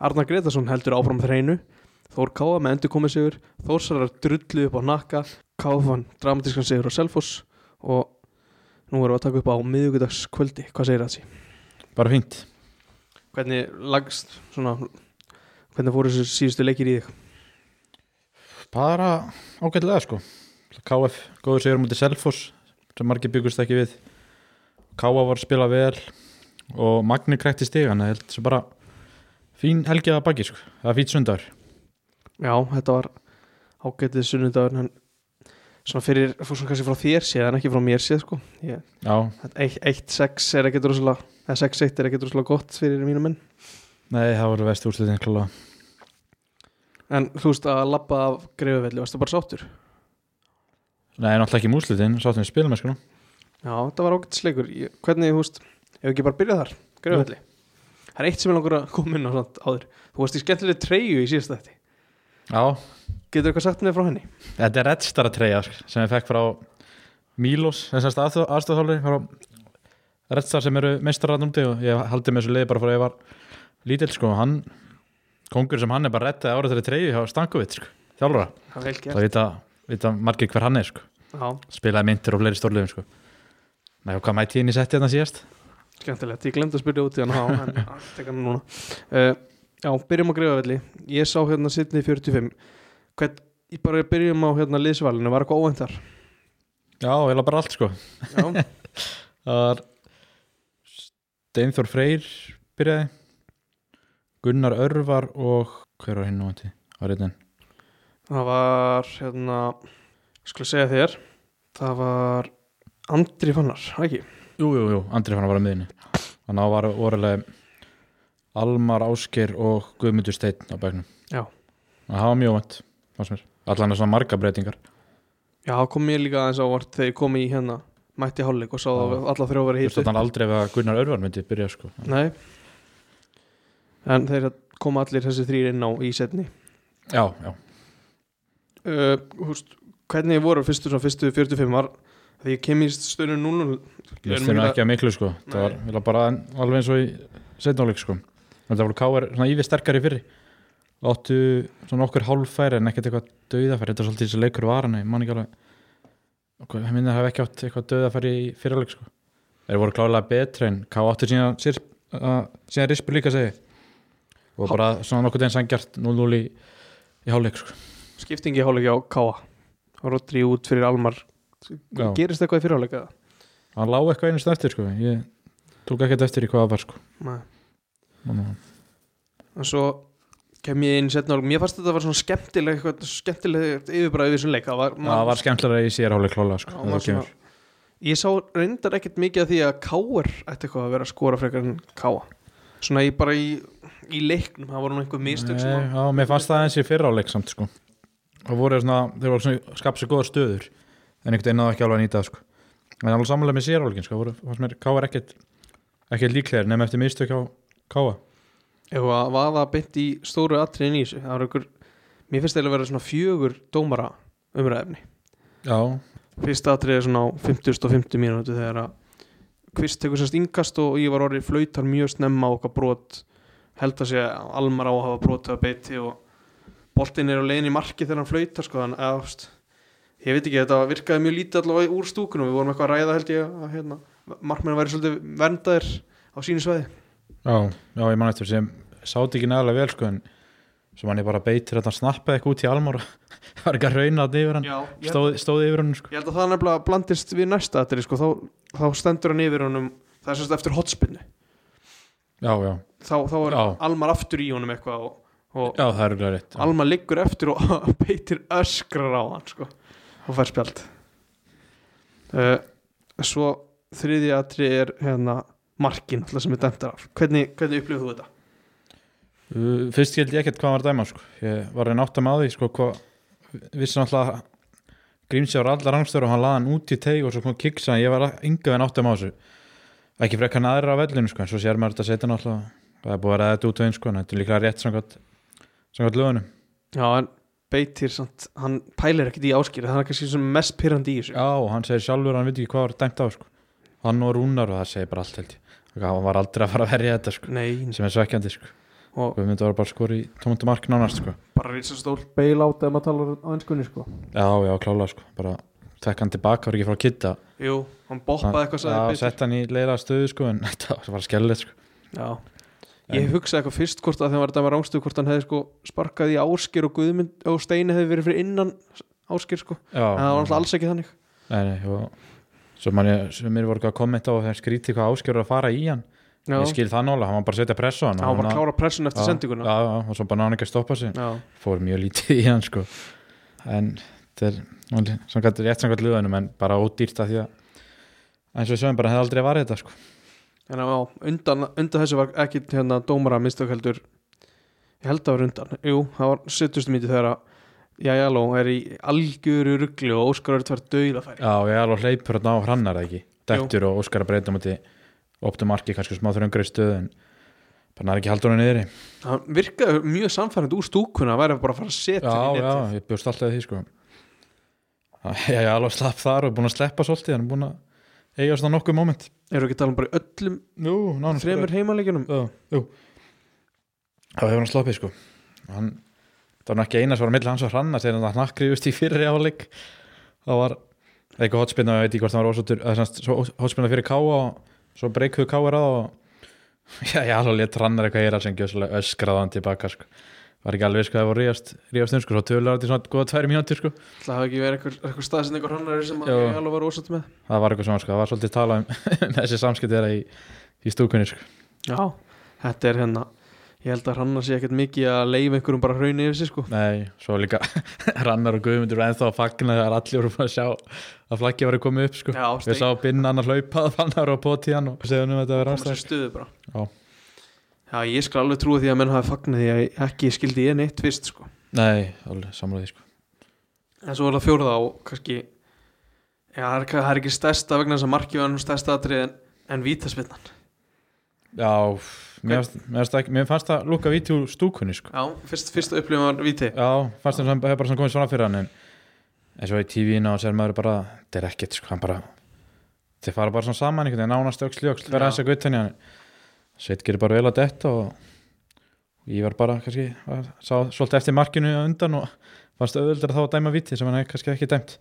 Arnar Gretarsson heldur áfram þreinu Þór Káa með endur komið sigur Þórsarar drullu upp á nakka Káfan dramatískan sigur á Selfoss og nú erum við að taka upp á miðugudagskvöldi, hvað segir það því? bara fínt Hvernig lagst svona hvernig fóru þessu síðustu leikir í þig? bara ágætlega sko KF, góður sigur á mútið Selfoss sem margir byggust ekki við KF var að spila vel og Magni krækti stigan ég held sem bara fín helgið að baki sko, það er fínt sundar Já, þetta var ágætið sunnudagur en svona fyrir, fór svona kannski frá þér séð en ekki frá mér séð sko Ég- já, þetta 1-6 er ekkert rosalega eða 6-1 er ekkert rosalega gott fyrir mínu menn nei það voru vestu úrslitin klálega en þú veist að labba af greiðuvelli, varstu bara sáttur? nei, náttúrulega ekki múslitin, sáttum við spilum sko. Já, þetta var ágætið sleikur Ég- hvernig, þú veist, ef ekki bara byrjað þar greiðuvelli Það er eitt sem er langur að koma inn á samt áður Þú varst í skemmtileg treyju í síðasta þetta já, Getur eitthvað sagt með frá henni? þetta er reddstara treyja sko, sem ég fekk frá Mílos, þessast aðstofþáli frá reddstar sem eru meistararnum til og ég haldi með þessu leiði bara frá ég var lítill sko, hann kongur sem hann er bara reddaði árið þeirri treyju hjá Stankovitt sko, þjálfara Það er vel það gert vita, vita margir hver hann er sko. Já, spilaði myndir og fleiri stórlegum sko. Nei, og hvað mætti ég inn í setti þarna síðast? skemmtilegt, ég glemd að spyrja út í hann á, en tekka hann núna uh, Já, byrjum á greiðuvelli Ég sá hérna sittni 45 Hvern, ég bara byrjum á hérna liðsvalinu, var eitthvað óvænt þar? Já, ég bara allt sko Já, það var Steinþór Freyr byrjaði Gunnar Örvar og hver var hinn nú átti? Var einn enn? Það var, hérna, skulle segja þér, það var Andri Fannar, það ekki? Jú, jú, jú, Andri fann að vara miðinni þannig að það var orðilega Almar Ásker og Guðmundur Steinn á bæknum Já. og það var mjög vant allan er svona marga breytingar Já, það kom mér líka aðeins ávart þegar ég kom í hérna, mætti hálfleik og sá það Já. alla þrjá verið þú veist hýttu. þannig aldrei ef að Gunnar Örvar myndi byrja sko Nei, en þeir koma allir þessi þrýr inn á í setni. já, já, Uh, húst, hvernig voru fyrstu, svona, fyrstu 45 var, þegar ég kem í stöðinu 0-0, Ég er Mér mjög finnum að- ekki að miklu sko Nei. Það var eiginlega bara en- alveg eins og í setnáleik sko En það voru káar svona yfir sterkari fyrri Láttu svona okkur hálffæri en ekkert eitthvað döðafæri Þetta er svolítið þessi leikur var hann Ég man ekki alveg okkur, Ég minna að hafa ekki átt eitthvað döðafæri í fyrirleik sko Þeir voru klálega betri en ká áttu síðan sér, uh, síðan rispur líka segi Og bara svona nokkuð einn sangjart 0-0 í, í hálfleik sko skiptingi hálfleik á Káa, Rodri út fyrir Almar, Já. gerist eitthvað í fyrirháleika það? Hann lá eitthvað einu snertir sko Ég tók ekkert eftir í hvað það var sko Nei. Þannig að- en svo kem ég inn setna og mér fannst þetta var svona skemmtileg eitthvað skemmtilegt yfirbræði við þessum leik það var, Já, það var skemmtilega í sér hálfleik klálega sko, Já, þegar maður þú kemur. svona- ég sá reyndar ekkert mikið af því að Káar ætti eitthvað að vera að skora frekar en Káa svona ég bara í, í leiknum það voru nú einhver mistök sem Nei, að- já, mér fannst það eins í fyrra hálfleik samt sko. það voru svona, þeir voru svona skap sér góðar stöður en einhvern veginn náðu ekki alveg að nýta það sko. en alveg samanlega með sér hálfleikin sko, voru, fannst mér Káa er ekkert ekkert líklegir nema eftir mistök á Káa ef að vaða beint í stóru atriðin í þessu það var einhver mér finnst það að vera svona fjögur dómara umræðefni Já, fyrsta atrið er svona á 50 og 50 mínútu þegar að kvist tekur sérst yngast og ég var orðið flautar mjög snemma á okkar brot held að sé að Almar á að hafa brotið að beiti og boltinn er á leiðin í marki þegar hann flautar sko þannig að ást ég veit ekki þetta virkaði mjög lítið allavega úr stúkunum við vorum eitthvað að ræða held ég að hérna, markmenn væri svolítið verndaðir á sínu sveði já, já, ég man eftir sem sáti ekki nægilega vel sko, en sem hann er bara beitir að hann snappaði eitthvað út í almor það var ekki að rauna að yfir hann Já, ég, stóði stóð yfir hann sko. ég held að það nefnilega blandist við næsta atrið sko þá, þá stendur hann yfir honum það er sérst eftir hotspinnu Já, já, þá, þá er Já. Almar aftur í honum eitthvað og, og já, það er örugglega rétt Alma liggur eftir og beitir öskrar á hann sko og fær spjald uh, svo þriði atri er hérna markin alltaf sem er dæmtar af hvernig, hvernig upplifðu þú þetta? Uh, Fyrst skildi ég ekkert hvað hann var að dæma sko. Ég var að reyna átt að maður því sko, hvað vissi náttúrulega að Grímsi var allar rangstöru og hann laði hann út í teig og svo kom kiksa en ég var yngu en átt að maður þessu ekki frekar en aðra á vellinu sko, en svo sér maður þetta setja náttúrulega það er búið að ræða þetta út og einn sko, en þetta er líklega rétt samkvæmt samkvæmt lögunum Já en beitir samt, hann pælir ekkert í áskýri það er kannski sem mest pyrrandi í þessu Já, og hann segir sjálfur að hann veit ekki hvað var dæmt á sko. hann og Rúnar og það segir bara allt held ég hann var aldrei að fara að verja þetta sko, Nei, sem er svekkjandi sko. og við myndum að vera bara skori í tómöndu mark nánast sko. bara risastól bailout ef maður talar á ennskunni sko já, já, klála sko. bara fekk hann tilbaka, var ekki frá að kitta jú, hann boppaði eitthvað sagði já, sett hann í leila stöðu sko, en þetta var bara skellið sko. Bitch. já. ég hugsaði eitthvað fyrst hvort að þegar var þetta með rángstöð hvort hann hefði sko sparkað í áskir og guðmynd og steini hefði verið fyrir innan áskir sko, já, en það var alltaf alls ekki þannig nei, nei, og, svo man ég, sem mér voru eitthvað að kommenta og þeir skrítið hvað áskjör að fara í hann já, ég skil það nála, hann var bara að setja pressa á hann hann var bara að hann- klára pressun eftir Já, sendinguna já, já, og svo bara náðan ekki að stoppa sig já, fór mjög lítið í hann sko. en þetta er náttúrulega- samkvæmt rétt samkvæmt liðanum en bara ódýrt að því að eins og við sögum bara hefði aldrei varðið þetta sko. en já, undan, undan þessu var ekki hérna dómara mistök heldur ég held að það var undan, jú, það var setjustum íti þegar að Jæjaló er í algjöru ruggli og Óskar er tvær döðafæri já, og ég er alveg hleypur að ná hrannar ekki dektur og Óskar að breyta múti optum marki, kannski smá þröngur í stöðu en bara nær ekki haldur hann niður það virkaði mjög samfærend úr stúkuna að vera bara að fara að setja já, hann í netið já, ég bjóst alltaf því sko. já, ég er alveg slapp þar og búin að sleppa svolítið, hann er búin að eiga svona nokkuð moment eru ekki að tala um bara í öllum Jú, nánast bara- þremur heimaleikjunum Já, jú Það hefur hann sloppið sko hann, Það var nú ekki eina sem var milli hans og hranna þegar hann hnakriðust í fyrri áleik það var eitthvað hotspinna ég veit ekki hvort það var ósóttur eða sem sagt, svo hotspinna fyrir káa og svo breykuðu káar á og já, já, alveg létt hrannar eitthvað eira sem gjössalega öskraði hann tilbaka sko var ekki alveg sko það voru ríðast ríðast um sko svo tölulega þetta í svona góða tvær mínútur sko Það hafði ekki verið eitthvað, eitthvað staðsendingur hannar sem að Jú. Jæjaló var ósatt með það var eitthvað svona sko það var svolítið talað um, um þessi samskipti þeirra í, í stúkunni sko Já, þetta er hérna Ég held að hannar sé ekkert mikið að leifa einhverjum bara hraunni yfir sig sko Nei, svo líka Rannar og Guðmundur var ennþá að fagna þegar allir voru búin að sjá að flaggi var að koma upp sko. Já, Við steik, sá binna hann að hlaupa að fannar og poti hann og segja hann um að þetta að vera koma sér rannstæð stuðu bara Já. Já, ég skal alveg trúa því að menn hafi fagnað því að ég- ekki skildi ég neitt fyrst sko Nei, alveg samlaði sko. En svo er það fjórða og kannski Já, það er, það er ekki stærsta vegna þess að markið var nú stærsta atrið en, en vítaspinnan Já, mér fannst, mér, fannst ekki, mér fannst það lúka víti úr stúkunni sko. Já, fyrst, fyrsta upplifum var víti Já, fannst það sem hefur bara svona komið svona fyrir hann en eins og í TV-ina og sér maður bara þetta er ekkert, sko, hann bara þeir fara bara svona saman einhvern veginn, nánast öxl í öxl Já. vera þess að gutt henni Sveit hérna. gerir bara vel að detta og og ég var bara kannski var, sá svolítið eftir markinu á undan og fannst auðvöldur þá að dæma viti sem hann hefði kannski ekki dæmt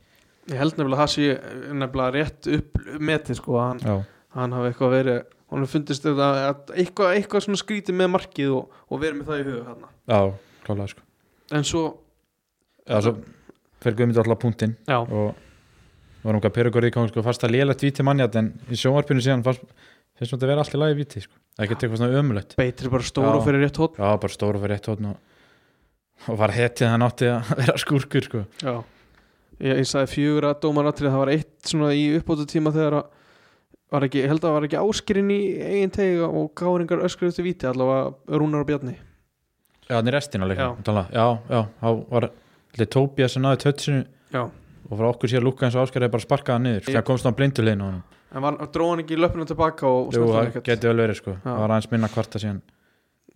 Ég held nefnilega að það sé nefnilega rétt upp metið sko að hann Já, hann hafi eitthvað verið hann fundist þetta að eitthvað, eitthvað svona skrítið með markið og, og verið með það í huga hann já, klálega sko en svo, Já, svo fer Guðmundur alltaf punktinn já, og var hún hvað perugurði kom sko fannst það lélegt víti mannjart en í sjónvarpinu síðan fannst, finnst hún þetta vera alltaf lagi víti sko, ekki eitthvað svona ömulegt beitir bara stóru Já. og fyrir rétt hótt Já, bara stóru fyrir eitt hótn og, og var hetið hann átti að vera skúrkur sko. já. Ég, ég sagði fjögur að dómar atrið það var eitt svona í uppbótu tíma þegar að var ekki, ég held að það var ekki áskirinn í eigin tega og gáringar öskrið eftir víti allavega Rúnar og Bjarni Já, hann er restina líka Já. já. já, já, þá var Tóbía sem náði tötsinu já. og frá okkur sér lúka eins og áskar bara sparkaði hann niður, sko, Ég- það komst hann blindulegin og hann, en var, dróð hann ekki löpunum tilbaka og, og jú, snerti hann það ekkert? geti vel verið sko, það Já. var aðeins minna kvarta síðan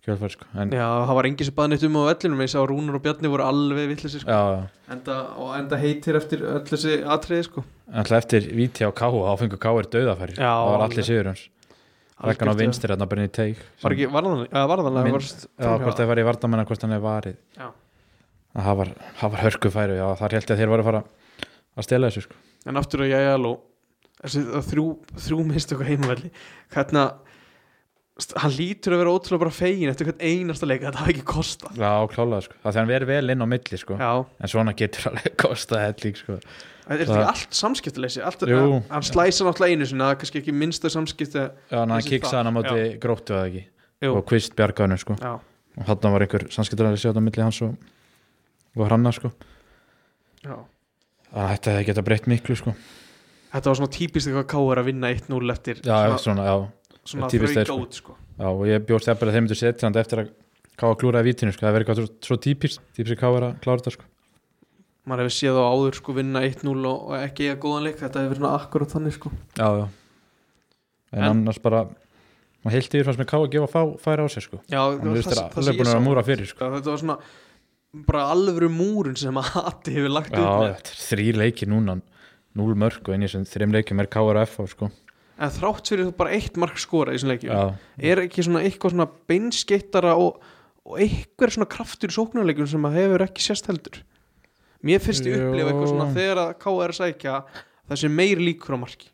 kjölfæri sko, en já, já, það var engin sem baði neitt um á vellinum ég sá að Rúnar og Bjarni voru alveg villisir sko. já, enda, og enda heitir eftir öll þessi atriði sko en alltaf eftir víti á Káa, þá fengur Káa er döðafæri Já, það var alveg. allir sigur hans, rekkan á Algjört, já. vinstir hann að brinni í teik Var sem- ekki varðanlega? Já, varðanlega Minn- varst Já, hvort það var í vartamennan, hvort hann er varið Já. að það var, það var hörkufæri já, þar held ég að þeir voru að fara að stela þessu sko. En aftur að ég alveg þessi, það þrjú, þrjú minnst okkur heimavalli Hvernig að st- hann lítur að vera ótrúlega bara fegin eftir hvern einasta leik þetta hafi ekki kosta já, klálega, sko. það því hann verið vel inn á milli sko. Já, en svona getur alveg kostað helling sko. þetta er Það- ekki allt samskiptileysi allt, Jú. að, Hann slæsa náttúrulega einu sinna kannski ekki minnsta samskipti já, en hann Þessi það- kiksaði hann á móti gróttu eða ekki Jú. og kvist bjargaðinu sko. Já, og hann var einhver sannskiptaræri sjátt á milli hans og, og hranna sko. já þannig að þetta hefði geta breytt miklu sko. Þetta var svona típist eitthvað káur að vinna 1-0 eftir já, svona, svona, svona, já. svona típist þeir, þraut sko. út sko. já, og ég bjóst eftir að þeim myndu setja hann eftir að káa klúraði vítinu sko. það verið eitthvað svo, svo típist, típist káa er að klára þetta sko. Maður hefur séð á áður sko vinna 1-0 og, og ekki eiga góðan leik Þetta hefur verið svona akkurat þannig sko já, já. En, En- annars bara maður heilt yfir fannst með K.A. gefa fá, færa á sér sko Já, það hann var virðist það- vera það sem ég alveg búin að vera sá. að múra fyrir sko Já, þetta var svona bara alvöru múrun sem að Atti hefur lagt já, upp með þetta er þrýr leiki núna núl mörg og einnig sem þrým leikum er K.A. F.A. sko en þrátt fyrir þú bara eitt mark skora í þessum leikjum já, er ekki svona eitthvað svona beinskeittara og, og einhver svona kraftur í sóknarleikun sem að hefur ekki sérst heldur mér finnst ég Jú. upplifa eitthvað svona þegar að KR sækja það sem meir líkur á marki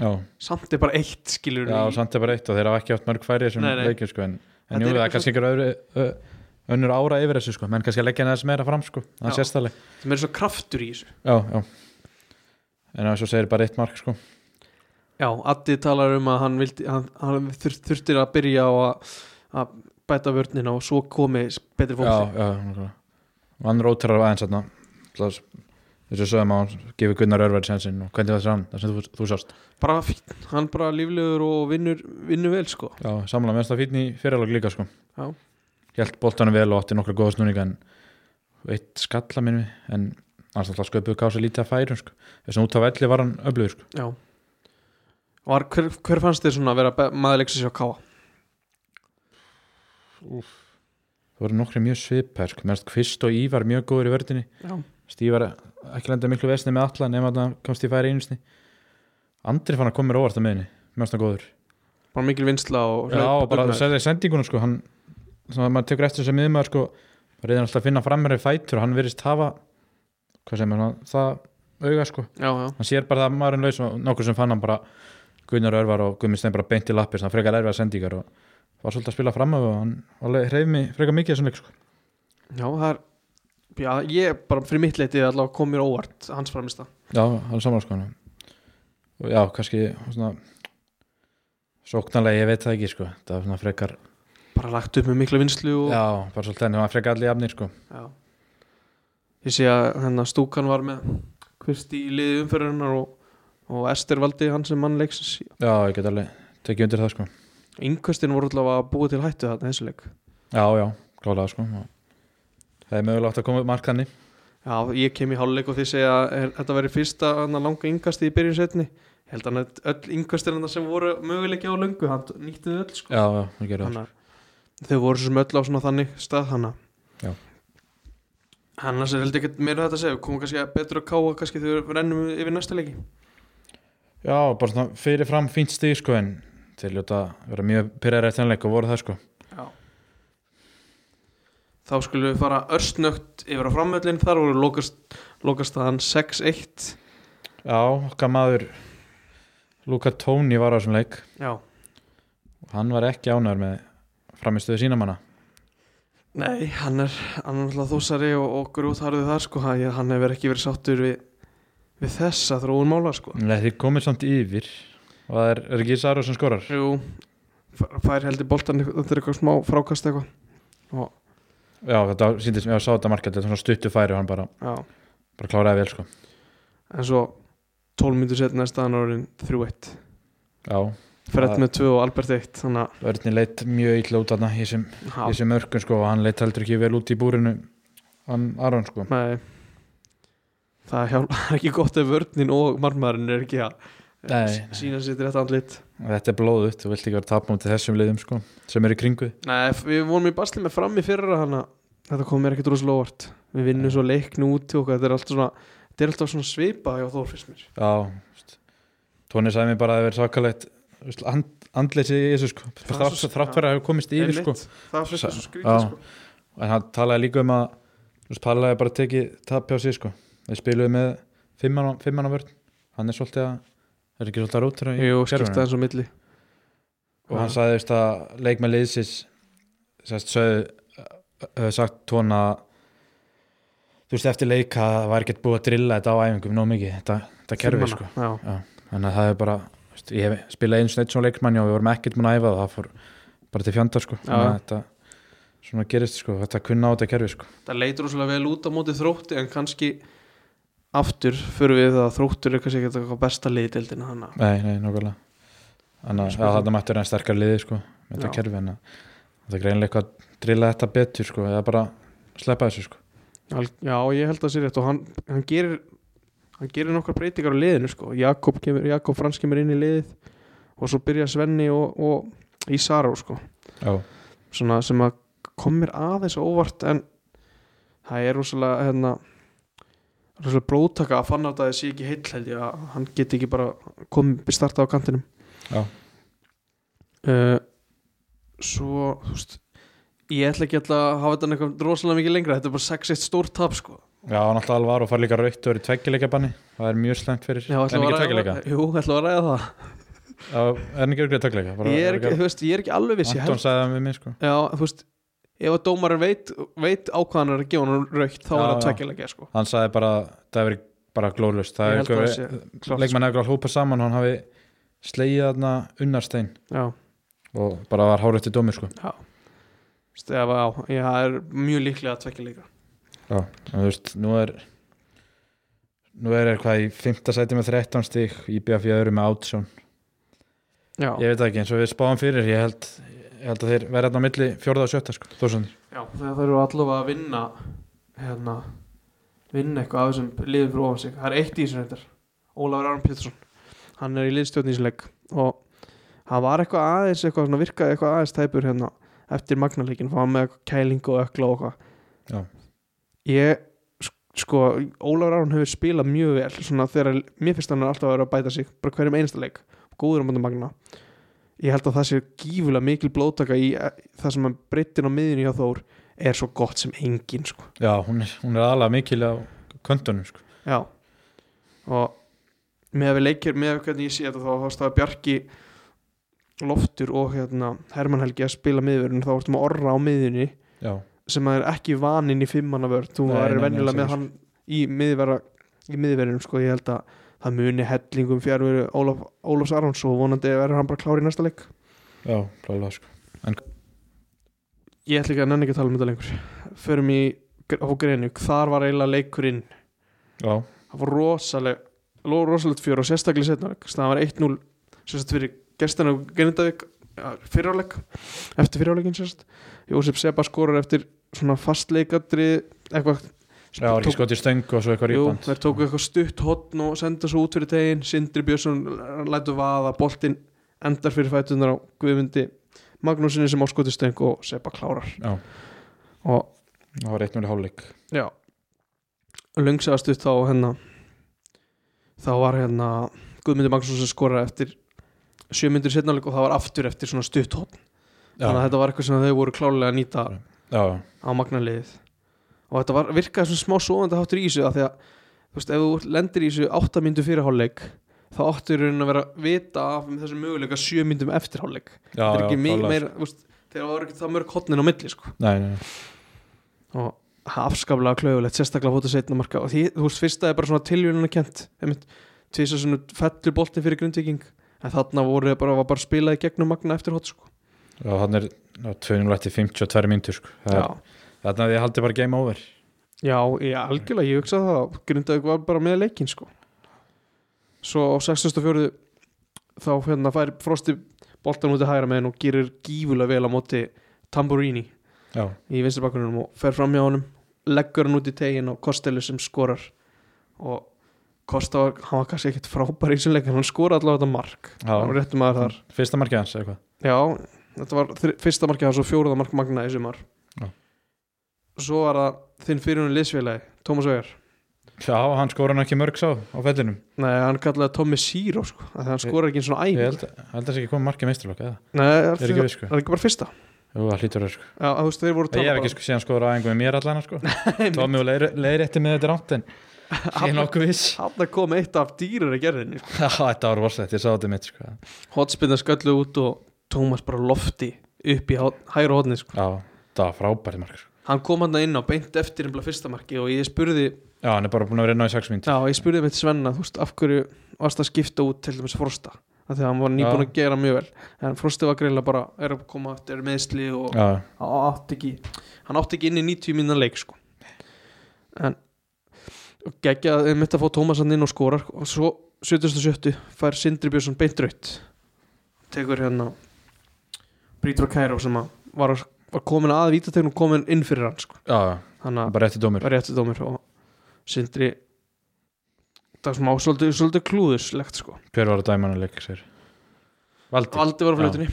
já, samt er bara eitt skilur já og samt er bara eitt og þeir hafa ekki átt mörg færi sem Nei, nei. leikir sko en, Þetta en er jú, það eitthvað er kannski einhver öðru, ö- önnur ára yfir þessu sko menn kannski að leggja hann aðeins meira fram sko Já. það er sérstæðlega sem er svona kraftur í þessu já, já en að svo segir bara eitt mark sko Já, Addi talar um að hann, vildi, hann, hann þur, þurftir að byrja á að, að bæta vörnina og svo komi betri já, fólk já, nákvæmlega. og hann rótar aðeins þarna Þess- þessu sögum að hann gefur Gunnar Örverð sensinn og hvernig var þessi hann, það sem þú, þú sást bara fínt, hann bara líflegur og vinnur, vinnur vel sko já, samlega meðan það fínn í fyrirlag líka sko Já. held boltanum vel og átti nokkra góða snúninga en eitt skalla minni en annars alltaf sköpuðu kása lítið að færum sko. þess að út á velli var hann öflugur sko. Já Var, hver, hver fannst þér svona að vera be- maður leiksins hjá Káa? það voru nokkri mjög svipar sko. meðan Kvist og Ívar mjög góður í vördinni Já, Stívar ekki lenda miklu vesni með alla nema að hann komst í færi einusni Andri fann að koma mér á óvart að meðinni meðan hann góður bara mikil vinsla og Já, og bara hlaup- það er sendingunum sko hann, svona að maður tekur eftir þess að miðum sko, bara reyðan alltaf að finna fram mér í fætur og hann virðist hafa hvað segir maður, svona, það auga sko Já, já, hann sér bara það að maðurinn laus og nokkur sem fann hann bara Gunnar Örvar og Guðmund Stein bara beint í lappir þannig frekar erfið að sendingar og var svolítið að spila fram af og hann alveg hreyf mig frekar mikið í þessum leik sko. já, það er já, Ég bara fyrir mitt leitið allavega kom mér á óvart hans framist það já, alveg saman sko hann. og já, kannski svona sóknarlega, ég veit það ekki sko það var svona frekar, bara lagt upp með mikla vinslu og já, bara svolítið þannig, það var frekar allir jafnir sko Já. Ég sé að hennar stúkan var með Kristi í liði umferðunar og, og Ester valdi hann sem mann leiksins já, ég get alveg tekið undir það sko Yngkvöstin voru allavega að búa til hættu þarna þessu leik já, já, klálega sko og það er mögulega átt að koma upp mark þannig Já, ég kem í háluleik og þið segja að er, þetta veri fyrsta hennar langa yngkasti í byrjun setni Ég held hann að öll yngkvöstin hennar sem voru möguleiki á löngu hann nýtti þau öll sko já, já, það gerir það Þannig að þau voru sem öll á svona þannig stað hana Já. Annars er held ekki meira um þetta að segja, við komum kannski að betur að káa kannski þegar við rennum yfir næsta leiki Já, bara svona fyrirfram fínt stig sko en þeir ljóta að vera mjög pyrraðir eftir þennleik og voru það sko Þá skulum við fara örstnögt yfir á framöllin þar voru lokast, lokastaðan 6-1 Já, okkar maður Luka Tóni var á þessum leik Já, og hann var ekki ánæður með framistöðu sína manna nei, hann er hann er náttúrulega þúsari og, og grútharðu þar sko, hann hann hefur ekki verið sáttur við, við þessa þróun mála sko Nei, þeir komið samt yfir og það er, er ekki Saru sem skorar Jú, f- fær heldur boltan þetta er eitthvað smá frákast eitthvað Já, þetta síndist mér að sá þetta markað þetta er svona stuttu færi og hann bara, Já, bara kláraði vel sko en svo 12 minntur setna er staðan orðin 3-1 Já, Fred Það- með 2 og Albert 1 þannig Örni leitt mjög illa út þarna í þessum í að þessum örkun sko og hann leitt heldur ekki vel út í búrinu hann Aron sko Nei, það hjálpar ekki gott ef vörninn og marmaðurinn er ekki að Nei, nei. sína sitt rétt andlit og þetta er blóðut, þú vilt ekki vera að tapa mútið þessum liðum sko, sem eru í kringu Nei, við vorum í basli með fram í fyrra hana Þetta kom mér ekkert rosalega óvart Við vinnum svo leikni út og þetta er alltaf svona Þetta er alltaf svona svipa hjá Þór fyrst mér Já, veist, Tóni sagði mér bara að það verið svakalegt veist, and, andleysi í þessu sko Það er þrátt svo- þrátt fyrir að hafa komist yfir sko Einmitt. Það fyrst Sa- þessu skrítið Já. sko en hann talaði líka um að þú veist, Palla hefði bara tekið tapi á sig sko þeir spiluðu með fimmann á- fimmann á vörn hann er svolítið að er ekki svolítið að rótura í Jú, kerfinu? skipta eins og milli og hann sagði veist, að leikmenn liðsins sérst sögðu hefur sagt tóna þú veist eftir leika að það var ekkert búið að drilla þetta á æfingum nóg mikið þetta, þetta kerfi sko Já, þannig að það er bara veist, ég hef spilað eins og eitt svona leikmanni og við vorum ekkert mun að æfa það það fór bara til fjandar sko Já. þannig að þetta svona gerist sko þetta kunna á þetta kerfi sko það leitur rosalega vel út á móti þrótti En kannski aftur Fyrir við það að þróttur er kannski ekki eitthvað besta liðdeldina hana nei, nei, nákvæmlega Sko, þannig að Spurning. ja, þetta mættur enn sterkar liði sko með þetta Já. kerfi en það er greinlega eitthvað að drilla þetta betur sko eða bara sleppa þessu sko Al- Já, ég held að það sé rétt og hann, hann gerir hann gerir nokkar breytingar á liðinu sko. Jakob, kemur, Jakob Frans kemur inn í liðið og svo byrja Svenni og, og Ísaró sko. já, svona sem að komir aðeins á óvart en það er rosalega hérna rosalega brótaka að fann að það sé ekki heill held ég að hann geti ekki bara komið starta á kantinum Já. Eh, svo þú veist ég ætla ekki alltaf að hafa þetta eitthvað rosalega mikið lengra þetta er bara 6-1 stór tap sko Já, náttúrulega Alvaro fær líka rautt og verið tveggjuleikabanni Það er mjög slæmt fyrir Já, En ætla ekki að ræða, tveggjuleika jú, ætla að ræða það Já, Er hann ekki örgrið tveggjuleika Bara- ég er, ekki, þú veist, ég er ekki alveg viss ég Anton held, sagði það við mig sko já, þú veist ef að dómarinn veit, veit ákvæðan er að gefa hann raukt þá Já, er það já. tveggjulega sko Hann sagði bara að Það hefur verið bara glóðlust Ég Það er held að einhver- Klárt, Leikmenn hefur glóð hópað saman og Hann hafi slegið þarna unnarstein sko. já, Og bara var hárið til dómi sko stefa á já, það er mjög líklega tveggjulega Já, en þú veist, nú er Nú er eitthvað í 5. sæti með 13 stík IBF í öðru með 18 já, Ég veit það ekki, eins og við spáum fyrir Ég held, ég held að þeir verða þarna á milli 4. og 7. sko Þórsandir já, þegar það eru allavega að vinna hérna vinna eitthvað af þessum liðum fyrir ofan sig það er eitt í þessum reyndar, Ólafur Aron Pétursson hann er í liðstjórn í þessum leik og hann var eitthvað aðeins eitthvað svona virkaði eitthvað aðeins tæpur hérna eftir magnarleikin, hann var með eitthvað kælingu og ökla og Já. eitthvað ég, sk- sko Ólafur Aron hefur spilað mjög vel svona þegar, mér finnst hann er alltaf að vera að bæta sig bara hverjum einasta leik, góður á mönda magna ég held að það sé gífulega mikil blótaka í eh, það sem hann breyttin á miðinu hjá Þór er svo gott sem engin sko. Já, hún er, hún er aðalega mikil á köntunum sko Já og með að við leikir með að hvernig ég sé þetta þá þá staða Bjarki Loftur og hérna Herman Helgi að spila miðvörun þá ertum að orra á miðunni Já, sem að er ekki vaninn í fimmanna vörn þú Nei, er nei, nei, venjulega alls með ekki, hann í miðverða í miðverðinum sko ég held að það muni hellingum fjárveru Ólaf, Ólafs Arons og vonandi verður hann bara klár í næsta leik já, klálega sko ég ætla ekki að nenni ekki að tala um þetta lengur förum í gr- á Greniuk þar var eiginlega leikurinn Já, það var rosaleg ló- rosalegt fjör og sérstaklega setnaleg það var 1-0 sérst fyrir gestan á Grindavík fyrirháleik eftir fyrirháleikin sérst Jósef Seba skorar eftir svona fastleikadri eitthvað já var ekki skotið stöng og svo eitthvað Jú, rýpand þeir tóku eitthvað stutt hotn og senda svo út fyrir tegin Sindri Björnsson lætu vaða boltinn endar fyrir fætunar á Guðmundi Magnúsinni sem áskoti stöng og Seba klárar Já. og Það var 1-0 hálfleik Já Lungsaðast upp þá hérna þá var hérna Guðmundur Magnússon sem skoraði eftir sjö myndir setnáleik og það var aftur eftir svona stutt hotn þannig að Já, þetta var eitthvað sem þau voru klálega að nýta já, á magnaliðið og þetta var, virkaði svona smá sovandi háttur í þessu af því að þú veist, ef þú lendir í þessu átta myndu fyrir hálfleik þá áttu í raunin að vera vita af með þessum möguleika sjö myndum eftir hálfleik já, þetta já, er ekki mikið klálega, sko. meira, þú veist, þegar það var ekki það mörg hotnin á milli sko Nei, nei, nei, og afskaplega klaugulegt sérstaklega fóta setna marka og því, þú veist, fyrsta er bara svona tilvíðan að kent tvisar svona fellur bolti fyrir grindviking en þarna voru þeir bara, var bara spilað í gegnum magna eftir hot sko. já, hann er já, 2-0 eftir 52 mínútur sko Það já, er- Þarna að ég haldi bara game over já, ég algjörlega ég hugsa það, grindavík var bara með leikin sko. svo á 64 þá hérna fær Frosti boltan út í hægra meðin og gerir gífulega vel á móti Tamburini Já, í vinstrabakgrunum og fer fram hjá honum leggur hann út í tegin og Kostelu sem skorar og Kosta var, hann var kannski ekkit frábær í þessum leik en hann skora allavega þetta mark Já. hann var réttum aðeins þar fyrsta markið hans eitthvað já, þetta var þri, fyrsta markið hans og fjóruða mark Magna í sumar Já. svo var það þinn fyrirunni liðsfélagi Tómas Vegar Já, hann skora hann ekki mörg sá á fellinum nei, hann kallaði Tommy Síró sko, af því að hann Ég- skorar ekki svona æg Ég nei, held, held að það sé ekki komið markið meisturlokk eða það Ég er ekki viss sko er ekki bara fyrsta Jú, það hlýtur það sko já, þú veist, þeir voru að Ég tala hef ekki sko síðan skoður á einhverjum mér allan sko Tómi og leiðir eftir með þetta rámt en ég er nokkuð viss hann kom eitt af dýrar í gerðinni Já, þetta var vorslegt, ég sá þetta mitt sko hotspinna sköllu út og Tómas bara lofti upp í há- hægra hotni sko. Já, það var frábæri mark sko. hann kom hann inn á beint eftir um fyrsta marki og ég spurði Já, hann er bara búin að vera inn á í 6 mínútur já, ég spurði með Svenna, þú veist, af hverju varst að skipta út til dæmis Frosta af því að hann var nýbúin Já. að gera mjög vel en Frosti var greinlega bara, er að koma eftir meðsli og Já, hann átti ekki hann átti ekki inn í 90 minna leik sko. en geggjað, við mitt að fá Tómas hann inn og skorar og svo 77 fær Sindri Björnsson beint raut tekur hérna Brítur og Kæró sem að var, var komin að vítategnum komin inn fyrir hann sko. já, þannig að bara eftir dómur var rétti dómur og Sindri það sem á svolítið, svolítið klúðuslegt sko. Hver var að dæma hann að leika sér? Valdi Valdi var á flautinni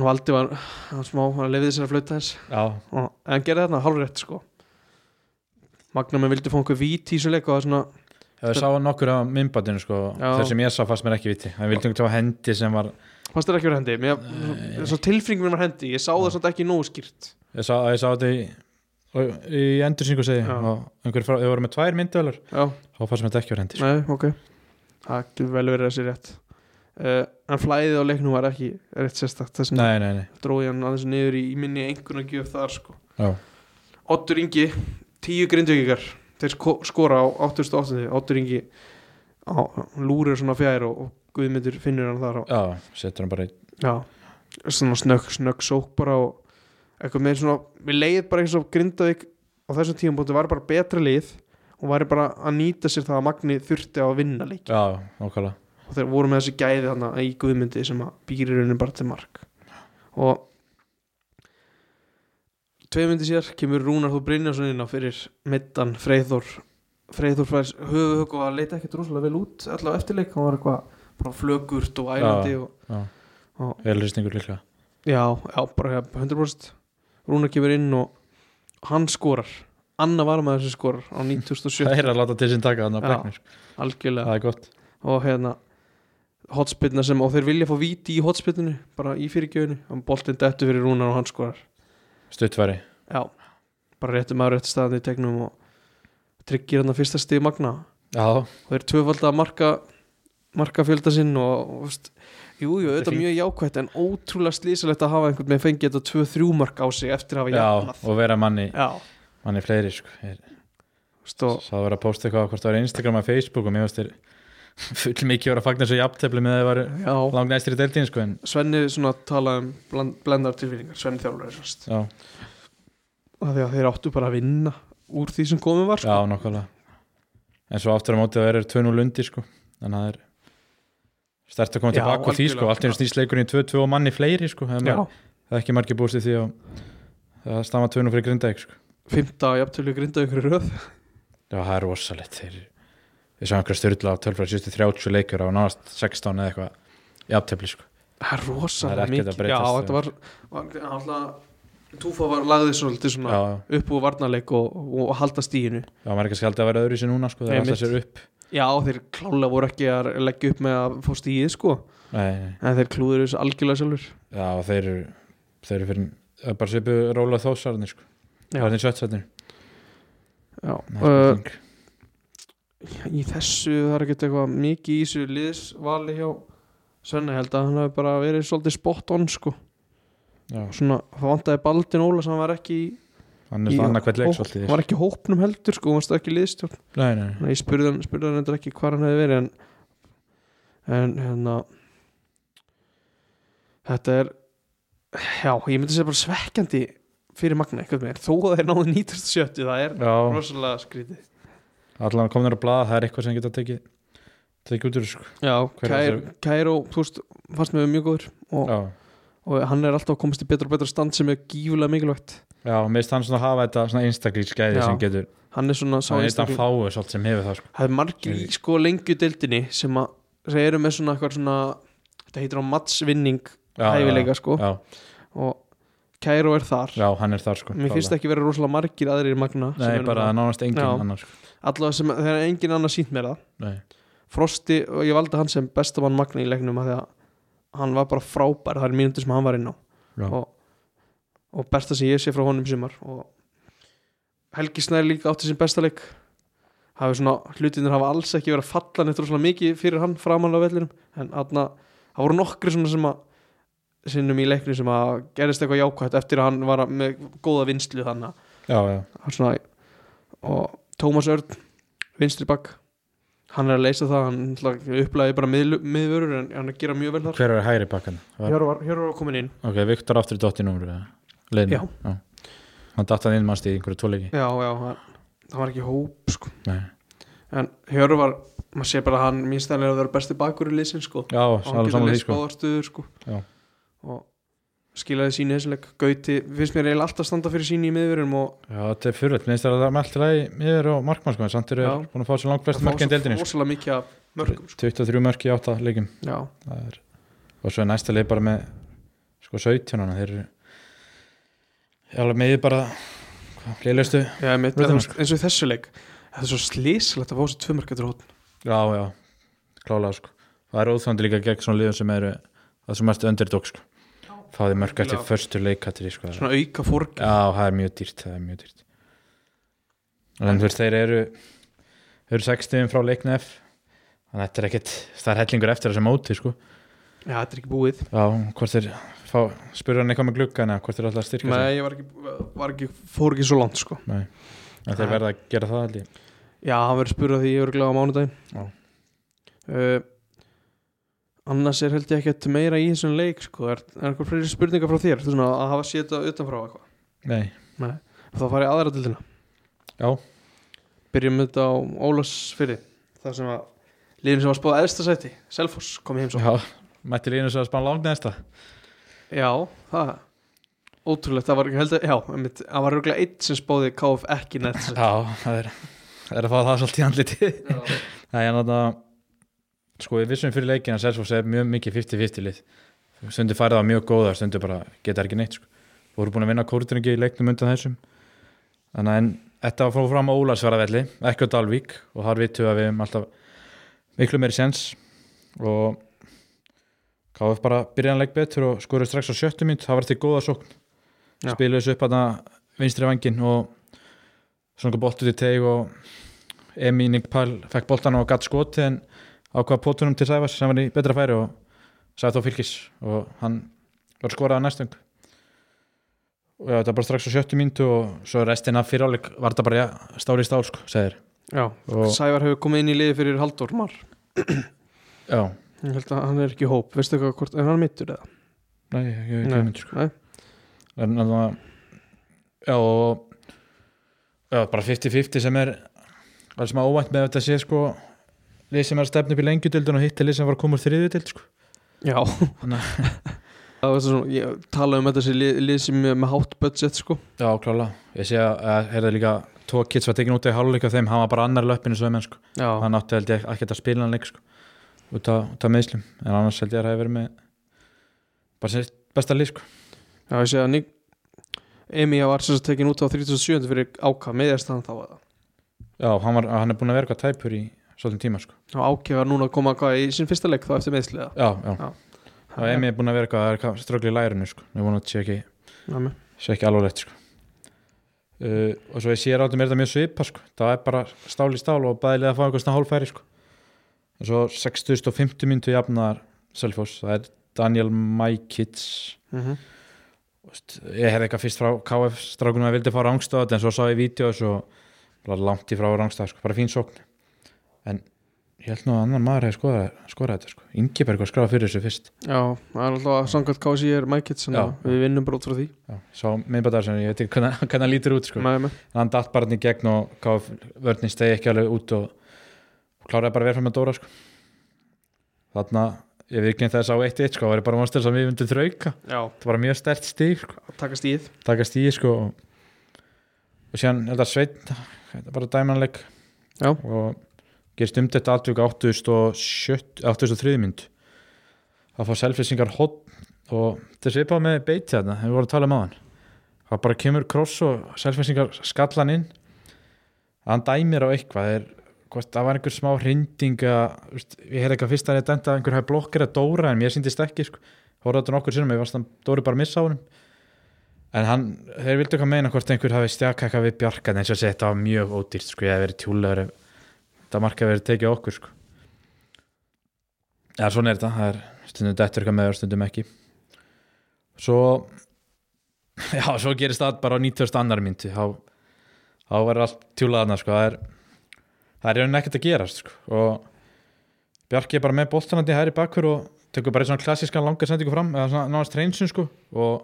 Valdi var, hann smá, hann lefiði sér að flauta þess Já, og, en gerði þarna hálfrétt sko Magnum vildi fá einhver víti í svo leik og það svona já, ég sá nokkur af myndbandinu sko, Já. þar sem ég sá fast mér ekki viti hann vildi ekki hafa hendi sem var fannst þér ekki verið hendi mér, svo tilfringum minn var hendi, ég sá það svolítið ekki nógu skýrt ég sá, ég sá þetta í, og- í endursynku segi Já. og einhver frá, þau voru með tvær myndavölar já, þá fannst mér þetta ekki var hendi sko. nei, ok það getur vel verið að sé rétt uh, en flæðið á leiknum var ekki rétt sérstakt þess vegna nei, nei, nei, dróði hann aðeins niður í, í minni einhvern að gjöf þar sko já, Ottur Ingi, tíu grindvíkikar þeir sko- skora á 88 Ottur Ingi á, lúrir svona fjær og, og Guðmyndur finnur hann þar á já setur hann bara í já, svona snögg, snögg sók bara og eitthvað með svona við leiðið bara eins og Grindavík á þessum tíum bóti var bara betra leið og væri bara að nýta sér það að Magni þurfti á að vinna leik já, nákvæmlega og þeir voru með þessi gæði þarna í Guðmyndi sem að býri raunin bara til mark og tvei myndi sér kemur Rúnar Þú Brynjarsson inn á fyrir middan Freyþór Freyþór fær höfuhög og að leita ekkert rosalega vel út allavega eftirleik, hann var eitthvað bara flögurt og ælandi Já. og velrýstingur líklega Já, já, bara 100% Rúnar kemur inn og hann skorar Anna varmaður sem skorar á 97 það er að láta til sín taka Já. þannig að bæknir sko. það algjörlega er gott og hérna hotspilna sem, og þeir vilja fá víti í hotspilinu bara í fyrirgjöfinu, hann boltinn dettu fyrir Rúnar og hann skorar, stuttværi já bara réttum að rétt staðan í tegnum og tryggir hann að fyrsta stig magna já, og þeir tvöfald að marka marka fjölda sinn og, og veist, jú, jú, Þetta er auðvitað mjög jákvætt en ótrúlega slísalegt að hafa einhvern með fengið þetta 2-3 mark á sig eftir að hafa já jafnað og vera manni, já. manni fleiri sko. Ég- Stó, sá að vera að posta eitthvað hvort það var Instagram að Facebook og mér veist þér full mikið voru að fagna þessu jafntefli með að það var já, langt næstir í deildin sko, en, Svenni svona talaði um bland, blendar tilfinningar Svenni þjálfur er sérst já, að því að þeir áttu bara að vinna úr því sem komið var já, sko. nokkvæmlega en svo aftur á móti það er 2-0 lundi sko. þannig að það er stert að koma Já, tilbaka úr því sko. algjörlega. allt er snýst leikurinn í 2-2 og manni fleiri sko. það, er já. mar- það er ekki margir búist í því að það stafa 2-0 fyrir grindaðik sko. fymta jafntölu grinda ykkur röð já, það er rosalegt þeir við sáum einhverja styrla á tölfræð síðustu 30 leikur á náðast 16 eða eitthvað jafntefli sko. það er Það er rosalega ekkert að mikið já, breytast, þetta var, var alltaf, Túfa var lagðið svolítið já, svona já, upp úr varnarleik og, og halda stíinu já, maður er ekki að skjálta að vera öðru núna sko, það er Einmitt. alltaf sér upp já, þeir klálega voru ekki að leggja upp með að fá stíið sko, nei, nei. en þeir klúður þessu algjörlega sjálfur já, og þeir eru þeir eru fyrir það er bara svipu róla þósarðin sko. Já. það er þeir sjötsarðin já, sko, uh, í þessu það er ekkert eitthvað mikið í þessu liðsvali hjá Svenni held að hann hafi bara verið svolítið spot on sko já, svona það vantaði Baldin Óla sem hann var ekki í- hann í- er annað hvert leik hóp- svolítið hann var ekki í hópnum heldur sko, hann varst ekki í liðstjórn nei, nei, nei. þannig að ég spurði hann, spurði hann endur ekki hvar hann hefði verið en, en hérna þetta er já, ég myndi segja bara svekkjandi fyrir Magna eitthvað meir, þó að þeir náðu 97 það er já, rosalega skrítið allan komnir á blaða það er eitthvað sem geta tekið tekið út úr þessu, sko. já, Hver Kær, var þessi- Kæró, þú veist fannst mér mjög góður og, já, og hann er alltaf að komast í betra og betra stand sem er gífulega mikilvægt já, meðist hann svona hafa þetta svona einstaklíksgæði Já. sem getur hann er svona sá það er einstakling- þetta fáu svolítið sem hefur það sko. það er margir í sko lengju deildinni sem að sem eru með svona eitthvað svona þetta heitir á matsvinning já, hæfileika sko já, og Kæró er þar já, hann er þar sko mér finnst ekki vera rosalega margir aðrir í magna sem nei, eru bara með- nánast engin Já. annar sko. allavega sem þegar engin annar sínt mér það Nei. Frosti og ég valdi hann sem bestamann magna í leiknum að því að hann var bara frábær það er mínútur sem hann var inn á Já. og, og besta sem ég sé frá honum í sumar og Helgi Snær líka átti sem besta leik hafi svona hlutinir hafa alls ekki verið að falla neitt rosalega mikið fyrir hann framanlega vellinum en aðna, það voru nokkri svona sem að sinnum í leiknum sem að gerist eitthvað jákvætt eftir að hann var að- með góða vinslu þannig að já, já, það er svona, og Tómas Örn vinstri bakk hann er að leysa það, hann náttúrulega upplæði bara miðlu- miðvörur en hann er að gera mjög vel þar hver er hægri bakkan? Var... Hjörvar, Hjörvar var komin inn ok, Viktor aftur í dotti númur leðin, Já. já hann datt hann inn mannst í einhverju tóleiki já, já, hann, hann var ekki í hóp sko. Nei. en Hjörvar, maður sé bara að hann minnst þannig að það er besti bakur í liðsin sko. já, og hann alveg getur saman því leyst sko. báðar stöður sko. Já. og skilaði síni þessuleik Gauti, finnst mér eiginlega alltaf standa fyrir síni í miðvörum og já, þetta er fyrirvægt, minnst það að það er með allt í lagi miður og markmann sko, en samt eru Já. þeir búin að fá sér langt bestu það fá mörkinn svo deildinni sko. rosalega mikið af mörgum sko. 23 mörk í 8 leikum já, Það er... og svo er næsta leik bara með sko 17 hana, þeir eru Ég alveg meði bara hvað, leilustu, já, mitt, Rútan, eins og í þessuleik þetta er svo slíslegt að fá þessi tvö mörg eftir hótt já, já, klálega sko. það er óþandi líka gegn svona liðum sem eru það sem mest underdog sko. fáði mörg eftir Algjörlega. förstu leikatri sko. já, svona auka fórk það er mjög dýrt það er mjög dýrt en þú veist, þeir eru þeir eru 60 frá leiknef þannig að þetta er ekkit, það er hellingur eftir þessu móti sko. já, þetta er ekki búið já, hvort þeir fá, spurðu hann eitthvað með gluggana hvort þeir alltaf að styrka sig Nei, ég var ekki, var ekki, fór ekki svo langt sko. en þeir verða að gera það allir Já, hann verður spurð að því ég verður gláð á mánudaginn Já. uh, Annars er held ég ekkert meira í þessum leik sko. Er, er eitthvað fleiri spurningar frá þér? Þú svona að hafa séð þetta utanfrá eitthvað Nei, Þá farið aðra dildina Já. Byrjum við þetta á Ólas fyrir Það sem að liðin sem var spáð eðsta sæti Selfoss kom í heimsó já, mætti línu sem að spanna langt næsta Já, það Ótrúlegt, það var ekki held að Já, einmitt, það var röglega eitt sem spáði KF ekki nætt Já, það er, það er að fá það svolítið í andlitið Nei, en þarna sko við vissum fyrir leikin að Selfoss er mjög mikið 50-50 lið stundu farið á mjög góða, stundu bara geta ekki neitt sko. voru búin að vinna kóruðningi í leiknum undan þessum þannig að en þetta var frá fram á Ólarsverðavelli ekki á Dalvík og þar vitum við að við um alltaf miklu meiri sens og KF bara byrjanleik betur og skoruðu strax á sjöttu mynd, það var eftir góða sókn Já. spiluðu þessu upp að vinstri vangin og svona boltu til teig og Emi Ningpal fekk boltan og gatt skoti en ákvað pótunum til Sæfars sem var í betra færi og sagði þá fylgis og hann var skorað að næstung og já, þetta var bara strax á sjöttu mínútu og svo restina fyrir áleik var þetta bara ja, stál í stál sko, segir Já, og Sævar hefur komið inn í liði fyrir Halldór Mar já, Ég held að hann er ekki í hóp, veistu eitthvað hvort, er hann mittur eða? nei, ég hef ekki Nei. mynd sko. Nei, en þannig að já, og já, bara 50-50 sem er það er smá óvænt með að þetta sé sko lið sem er að stefna upp í lengjudildun og hitt er lið sem var að koma úr þriðudild sko. já Nei. Það var svona, ég tala um þetta sem lið, lið sem er með hátt budget sko Já, klála, ég sé að- að er það líka tvo kids var tekin út í háluleika þeim, hann var bara annar í löppinu svo menn sko, Já, hann átti held ég ekki að spila hann leik sko, út af, út af meðslum en annars held ég að það hefur verið með bara sér besta lið sko já ég segja að Nik Emi var sem sagt tekin út á 37. fyrir áka meðjast hann þá að það Já, hann, var, hann er búin að vera eitthvað tæpur í svolítið tíma sko, Og áki var núna að koma hvað í sinn fyrsta leik þá eftir meðsliða já, já, Það það er mér búin að vera eitthvað, það er eitthvað ströggli í lærinu sko, ég vona að þetta sé ekki Nei, sé ekki alveg lett sko. uh, og svo ég sé ráttum er þetta mjög svipa sko. það er bara stál í stál og bæðilega að fá einhvern svona hálfæri sko. en svo 6050 myndu jafnar Selfoss, það er Daniel Majkic mhm. ég hefði eitthvað fyrst frá KF strákunum að vildi fá rángstöð en svo sá ég vídeos og bara langt í frá rángstöð sko. bara fín sókn en ég held nú að annan maður hefði skorað, skorað þetta sko. Ingeberg var skráð fyrir þessu fyrst Já, það er alltaf að samkvæmt KC er Mækits Já. Við vinnum bara út frá því Já, sá miðbæðar sem ég veit ekki hvernig hvernig hann lítur út sko. Nei, nei. en hann datt bara hann í gegn og gaf vörninn stegi ekki alveg út og kláraði bara að vera fram með Dóra sko. þannig að ég vikinn þess á 1-1 sko, það var bara mannstæð sem við myndum þrauka Já, það var mjög stert stíg sko, að taka stíð taka stíð sko og, og síðan held að Sveitn þetta var dæmanleik Já. og gerist um þetta atvik á 83 mynd það fá selfisingar hotn og þetta er svipað með beiti þarna en við vorum að tala um aðan það bara kemur kross og selfisingar skallan inn hann dæmir á eitthvað það er Hvort, það var einhver smá hrinding að, veist, ég heyrði eitthvað fyrst að ég dæmta að einhver hafi blokkir að Dóra en mér síndist ekki sko. hóraði þetta nokkur sinnum, ég varst að Dóri bara missa á honum en hann, þeir vildu eitthvað meina hvort einhver hafi stjaka eitthvað við Bjarkan eins og sé þetta var mjög ódýrt sko, ég hef verið tjúlegar ef þetta marka verið tekið á okkur sko. Já, svona er þetta það er stundum dettur eitthvað með og stundum ekki svo já, svo gerist það bara á 90. annar myndu þá, þá verður allt tjúlaðana sko, það er það er í rauninni ekkert að gerast sko. og Bjarki er bara með boltanandi hæri bakkur og tekur bara eitt svona klassískan langar sendingu fram eða svona náðast reynsun sko og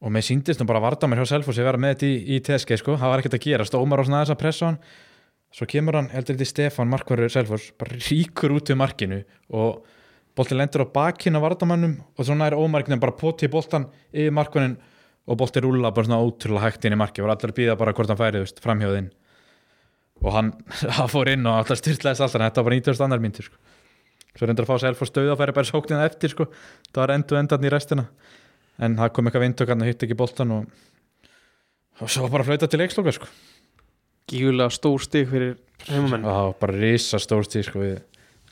og mér síndist nú bara varða mér hjá Selfossi vera með þetta í, í TSG sko, það var ekkert að gerast og Ómar var svona aðeins að pressa hann svo kemur hann, heldur þetta Stefan Markvarur Selfoss, bara ríkur út við markinu og boltin lendur á bakinn á vardamannum og svona er Ómarknum bara poti í boltan yfir markvarnin og boltin rúla bara svona ótrúlega hægt inn í marki og allir að býða bara hvort hann færi, þú veist, framhjóðinn og hann, hann fór inn og alltaf styrlaðist alltaf, þetta var bara 90 annar myndir sko. svo reyndar að fá Selfoss stöð og færi bara sóknina eftir sko, það var endu endan í restina en það kom eitthvað vindtökarn og hitt ekki boltan og, og svo var bara að flauta til leiksloka sko. gífulega stór stig fyrir heimamenn það var bara risa stórstíð sko við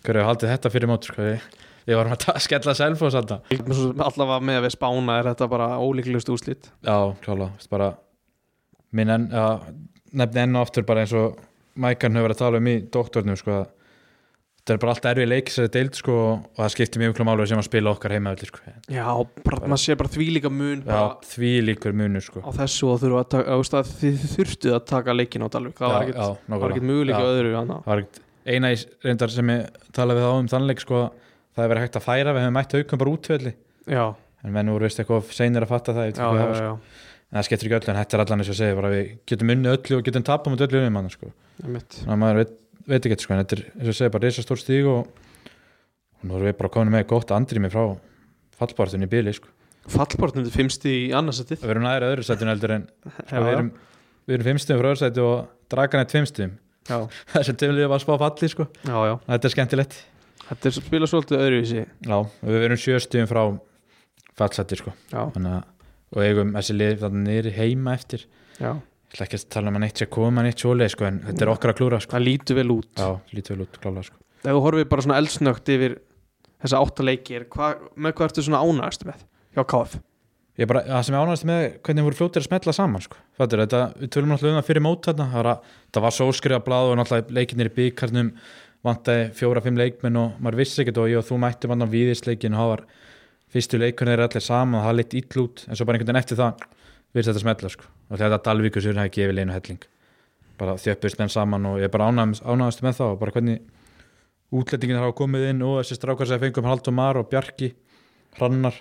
hverju haldið þetta fyrir mót sko við, við varum að ta- skella selfos alltaf Svo allavega með að við spána er þetta bara ólíklegust úslit já klála bara minn enn að nefni enn og aftur bara eins og Mækan hefur verið að tala um í doktornum sko að þetta er bara alltaf erfið leik sér deild sko og það skiptir mjög klum álega sem að spila okkar heima öll sko já, Já, bara, maður sé bara þvílíka mun bara því líkur munur sko á þessu og þurfa að taka, þú veist að þið þurftuð að taka leikin á Dalvik það var já, ekkert- já, það var nákvæmlega. ekkert möguleika Já. öðru annað. það var ekkert eina í reyndar sem ég talaði við þá um þannleik sko að það hefur verið hægt að færa við hefum mætt haukum bara útvöldi Já, en menn voru veist eitthvað seinir að fatta það, ég veit já, ekki já, hvað það var, sko. já, en það skiptir ekki öllu en þetta er allan eins og segir bara við getum unni öllu og getum tapað mot öllu um hann sko. já, mitt þannig að maður veit, veit ekki sko, en þetta er eins og segir bara risastór stíg og, og nú erum við bara komin með gott andrými frá fallbartunni í bíli sko. Fallbortin er fimmsti í annarsettið við erum næri öðru sætun heldur en sko, við erum, við erum fimmstum frá öðru sætu og dragan er tveimstum já, þessi tömlið var að spá falli sko. já, já, þetta er skemmtilegt þetta er spila svolítið öðruvísi Já, og við erum sjöstum frá fallsæti sko. Já, Þannig, að- og eigum þessi lið þannig niður heima eftir já, ég ætla ekki að tala um að neitt sé að koma neitt svoleið sko, en þetta er okkar að klúra sko. það lítur vel út Já, lítið vel út klála sko. Ef þú horfið bara svona eldsnögt yfir þessa áttaleikir, hva, með hvað ertu svona ánægast með hjá KF? Ég bara, það sem ég ánægast með hvernig voru fljótir að smetla saman sko. Fattur, þetta, við tölum náttúrulega um það fyrir mót þarna það var, að, það var sóskriða blað og náttúrulega leikinnir í byggarnum vantaði fjóra-fimm leikmenn og maður vissi ekkert og ég og þú mættum hann á víðisleikin og það var fyrstu leikunni er allir saman og það leitt ill út en svo bara einhvern veginn eftir það virðist þetta smetla sko. og þetta Dalvíkusur hefði gefið leinu helling bara þjöppust menn saman og ég er bara ánægast, ánægast með það og bara hvernig útlendingin hafa komið inn og þessi strákar sem fengum Haldur Mar og Bjarki Hrannar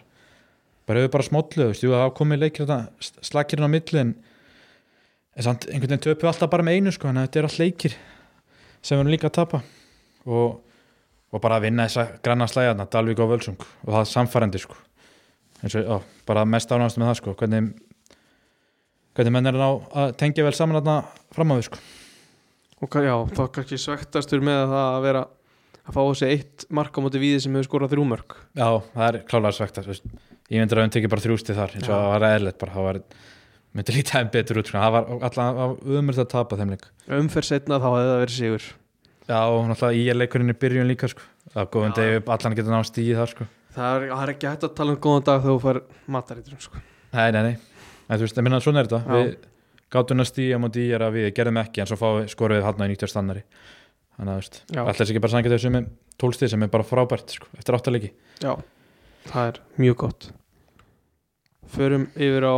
bara hefur bara smólluð, veist, jú, það hafa komið leikir þetta slakirinn á milli en, en samt einhvern veginn töpu alltaf bara með einu sko, þannig að þetta er allt leikir sem við erum líka að tapa og, og bara að vinna þessa granna slæðarna, Dalvík og Völsung og það er samfærandi sko eins og, á, bara mest ánægast með það sko hvernig, hvernig menn er að ná að tengja vel saman þarna fram á því sko Og ka- já, þá kannski svektastur með það að vera að fá þessi eitt mark á móti víði sem hefur skorað þrjú mörk Já, það er klálega svegt ég myndir að hann tekið bara þrjústið þar eins Já. og það var eðlilegt bara, það var myndi lítið en betur út sko, það var alltaf umurð að tapa þeim leik Umferð setna þá hefði það verið sigur Já, og náttúrulega í er leikurinn í byrjun líka sko. Það er góðan Já. degi upp, allan getur náðast í það sko. Það er, það er ekki hægt að tala um góðan dag þegar þú fær matarítur sko. Nei, nei, nei en, Þú veist, ég minna svona er þetta Já. Við gátum náðast í á móti í er að við gerðum ekki en svo fá við skorum við hann á 90 stannari Þannig að þú veist, Já. alltaf ekki bara sangið þau sem er tólstið sem er bara frábært sko, eftir áttalegi Já, það er mjög gott Förum yfir á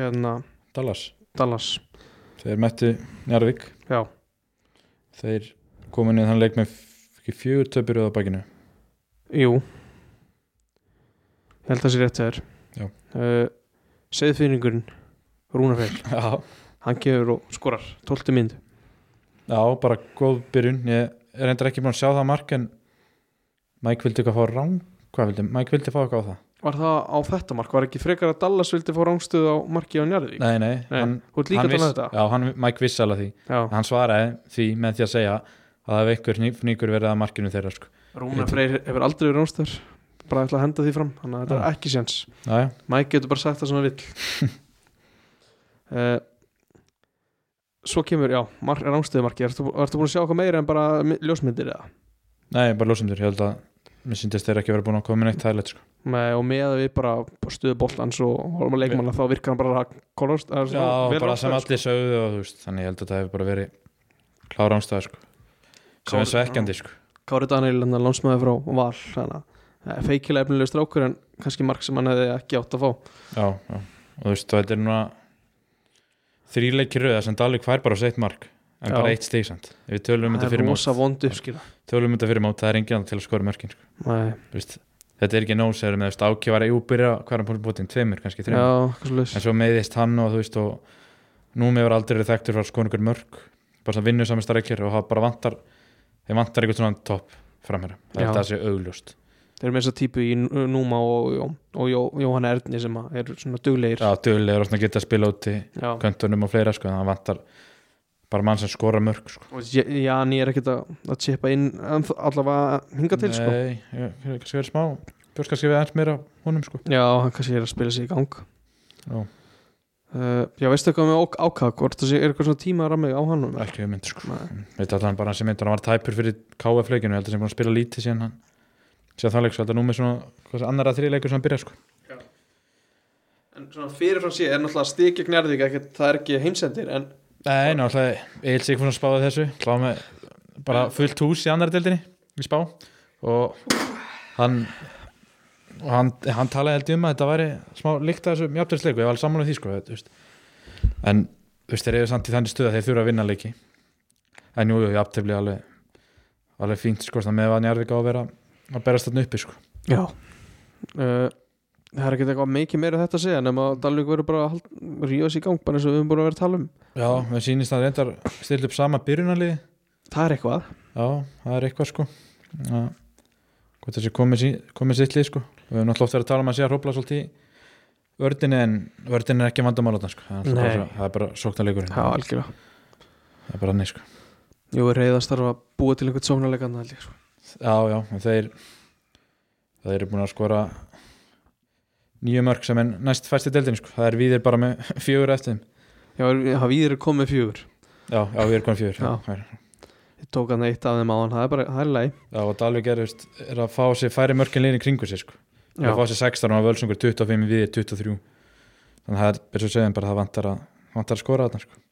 hérna Dallas, Dallas þeir mættu Njarvík Já, Þeir komu niður þann leik með f- ekki fjögur töpur á bakinu jú Ég held að það sé rétt að Já. þér uh, Seðfyrningurinn Rúnarfell, Já, hann gefur og skorar 12 mynd Já bara góð byrjun Ég er reyndar ekki búin að sjá það mark en Mike vildi eitthvað fá rán Hvað vildi? Mike vildi fá eitthvað á það Var það á þetta mark? Var ekki frekar að Dallas vildi fá rángstöð á marki á Njarðvík? Nei, nei, Nei, hann, Þú ert líka að tala hann um viss- þetta? Já, hann, Mike vissi alveg því Já, Hann svaraði því með því að segja að það hefði einhver fnýkur verið að markinu þeirra sko. Rúnar Freyr hefur aldrei verið rángstöður bara ætla að henda því fram, þannig að þetta Já. er ekki séns Já, já, Mike getur bara sagt það sem hann vill uh, Svo kemur, já, mar rángstöðumarki Ertu, ertu búin að sjá eitthvað meira en bara mi- ljósmyndir eða? nei, bara lósum þér Ég held að mér syndist þeir ekki verið búin að koma með neitt þærlegt sko. Nei, og með að við bara stöðu boltans og horfum að leikmanna þá virkar hann bara kolorst, er, Já, bara sko. sem allir sögðu og þú veist Þannig ég held að það hefur bara verið klára ánstæð sko. sem Kár- er svekkjandi sko. Kári Daniel, hann lánsmaði frá Val þannig að feikilega efnilega strákur en kannski mark sem hann hefði ekki átt að fá Já, já, og þú veist, og þetta er núna þríleikir rauða sem Dalík fær bara á seitt mark en Já. bara eitt stig samt Við tölum um þetta það er fyrir mót, rosa vond uppskila tölum um þetta fyrir mót það er enginn annar til að skora mörkin sko. Nei, Þú veist, þetta er ekki nóg sem með þú veist, áki var að júbyrja hverjum pólbútin, tveimur kannski já, þreimur, eitthvað slags en svo meiðist hann og þú veist og númi var aldrei verið þekktur fyrir að skoða einhver mörg, bara svona vinnu samist reglur og það bara vantar þeir vantar einhvern svona topp framherra Já. þetta sé augljóst, Þeir eru með þessa típu í Nú- Núma og, og, og Jó, Jóhanna Erni sem að eru svona duglegir já, duglegur og svona geta að spila úti Já. köntunum og fleira sko, en það vantar bara mann sem skora mörg sko. og J- Jani er ekkert að, að tjepa inn en þó- allavega hinga til sko Nei, ég, ég, kannski verið smá bjóst kannski við aðeins meira honum sko. Já, hann kannski er að spila sig í gang Já. uh, já veistu eitthvað með ok- ákak hvort það sé er eitthvað svona tíma að ramma á hann ekki hugmynd sko Nei. veit að hann bara sem myndur, hann var tæpur fyrir KF leikinu, ég held að sem búin að spila lítið síðan hann síðan það leik, sko. svo þetta er nú með svona hvað sem annar að þrið leikur sem hann byrja sko en svona fyrirfram sé er náttúrulega stig gegn Erðvík ekkert, það er ekki heimsendir en Nei, ná, alltaf, ég held sig ekki að spáða þessu klá með bara fullt hús í annar deildinni í spá og hann og hann, hann talaði held ég um að þetta væri smá líkt að þessu mjöfnirsleiku, ég var alveg sammála um því sko, þú veist. en þú veist, þeir eru samt í þannig stuð að þeir þurfa að vinna leiki en jú, jú, jafntefli er alveg alveg fínt sko, svona með að Njarvík á að vera að berast þarna uppi sko Já uh, Það er ekkert eitthvað mikið meira um þetta að segja nema að Dalvík verður bara að hald- rífa sér í gang bara eins og við höfum búin að vera að tala um Já, við sýnist að reyndar stilla upp sama byrjunarliði Það er eitthvað Já, það er eitthvað sko Já. Hvort þessi komið, sí- komið sitt lið sko Við höfum náttúrulega oft verið að tala um að sé að hrópla svolítið í vördinni en vördinni er ekki vandamálaðan sko Það er náttúrulega Nei. bara, það er bara sóknarleikurinn Já, algjörlega Það er bara neins sko Jú, reyðast þarf að búa til einhvern sóknarleikann held ég, sko. Já, já, en þeir þeir eru búin að skora nýju mörg sem er næst fæst í deildinni sko Það er við bara með fjögur eftir þeim Já, er- það við erum komið fjögur Já, já, við erum komið fjögur Já. það er- Ég tók hann eitt af þeim áðan, það er bara, það er læg já, og Dalvik er, veist, er að fá sér færi mörkin liðin í kringu sér sko Já. að fá sér 16 og að völsungur 25 við 23 þannig að það er, eins og segjum bara það vantar að, vantar að skora þarna sko.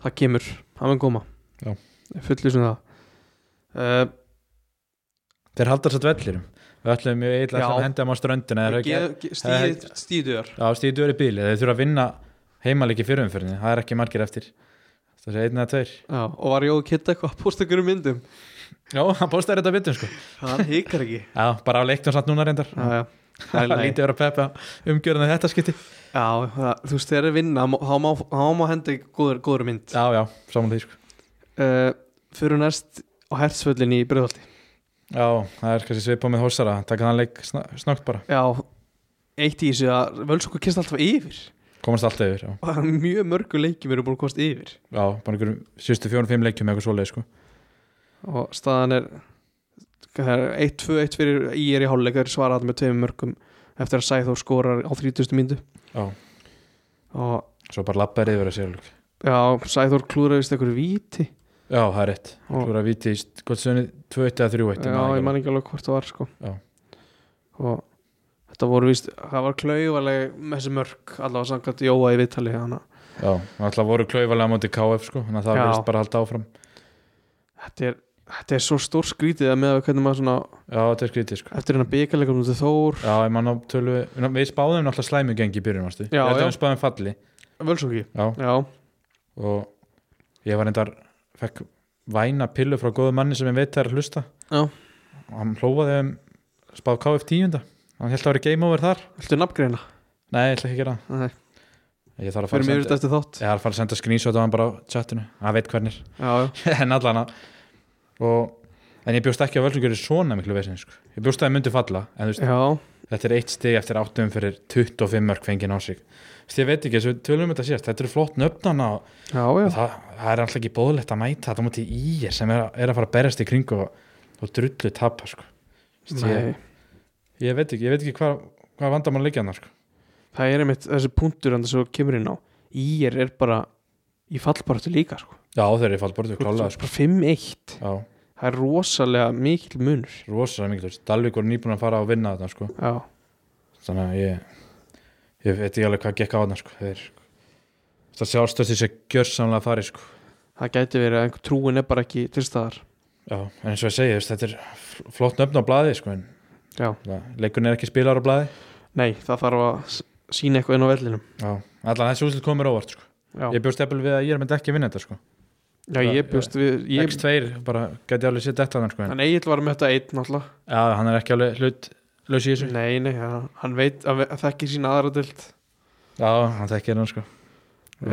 Það kemur, það mun koma Já. Fullu sem það uh, þeir haldar satt vellirum við ætlum mjög eitthvað Já. að henda þeim á ströndina eða ekki, Stíð, Stíðuðar á stíðu öru bíli þeir þurfa að vinna heimalegi fyrirumfyrinni það er ekki margir eftir það sé einn eða tveir Já, og var Jói Kitta eitthvað að posta ykkur um myndum já, hann postar þetta bitum sko Það hikar ekki já, bara á leiktum satt núna reyndar Já, já, það er það læg lítið verið að peppa umgjörðan þetta skipti Já, það, þú veist, þegar er vinna þá má- þá má, þá má hendi góður, góður mynd já, já, saman því sko uh, Fyrir næst á hertsvöllin í Breiðholti já, það er kannski svipað með hósara taka þann leik sn snögt bara Já, eitt í þessu að völsungur kist alltaf yfir komast alltaf yfir já, og mjög mörgu leikjum eru búin að komast yfir já bara einhverjum síðustu fjórum fimm leikjum eitthvað svoleið sko og staðan er það er 1-2-1 fyrir í er í hálfleik þeir svara alltaf með tveim mörgum eftir að Sæþór skorar á 30. myndu já, og Svo bara lappaði yfir að sér alveg. já, Sæþór klúðraði vist einhverju víti Já, það er rétt. Já. Þú voru að viti í gott sönni 2-1 eða 3-1. Já, ég man ekki alveg hvort það var sko. Já. og þetta voru víst það var klauvaleg með þessi mörk allavega samkvæmt Jóa í viðtali hana. Já, það alltaf voru klauvalega móti KF sko, þannig að það Já. verðist bara að halda áfram. þetta er, þetta er svo stór skrítið að með að hvernig maður svona Já, þetta er skrítið sko. eftir hennar byggalegum til Þór Já, ég man á tölu, við spáðum náttúrulega slæmu gengi í byrjun, varstu? Já, Ég já. held að við spáðum falli. Völsungi Já, já, og ég var endar, fekk væna pillu frá góðu manni sem ég veit það er að hlusta. Já. Hann hlófaði um spáð KF 10. Hann held að vera game over þar. viltu nafngreina? Nei, ég ætla ekki að gera það. Nei, Ég þarf að fara fyrir að mig senda, yfir þetta eftir þátt ég þarf að fara að senda screenshot á hann bara á chatinu. Hann veit hvernir. já, já, en allan að og en ég bjóst ekki að völsungur er svona miklu vesin sko. ég bjóst að það myndi falla en þú veist, já, þetta er eitt stig eftir áttum fyrir 25 mörg fengið á sig Þú veist, ég veit ekki, þessu tölum um þetta síðast þetta eru flott nöfnana og já, já. það, það er alltaf ekki bóðlegt að mæta þetta mútið í er sem er, að- er að fara að berast í kring og, og drullu tapa sko. Þú veist, Nei, ég, ég veit ekki, ég veit ekki hvað hvað vandamann liggja hann sko. það er einmitt þessi punktur hann sem þú kemur inn á í er, er bara í fallbaratu líka sko. já þeir eru fallbortu klálega sko. bara 5-1 já, það er rosalega mikil munur rosalega mikið, þú veist, Dalvik voru nýbúin að fara að vinna þetta sko. já þannig að ég ég veit ekki alveg hvað gekk á hana sko. Þeir, það sjálfstöð þessi gjörsamlega farið sko. það gæti verið að einhver trúin er bara ekki til staðar já, en eins og ég segi, þú veist, þetta er fl- flott nöfn á blaði sko, en Já. það- leikurinn er ekki spilar á blaði nei, það þarf að s- sína eitthvað inn á vellinum já, allan þessi úslit komur óvart sko. já, ég bjóst eppil við að ég er með ekki að vinna þetta sko. já ég bjóst við ég, X2 bara gæti alveg sér þetta hann sko, en, hann Egil var með þetta einn náttúrulega já, hann er ekki alveg hlut laus í þessu nei, nei, já, hann veit að að þekkir sína aðra dild já, hann þekkir hann sko. uh,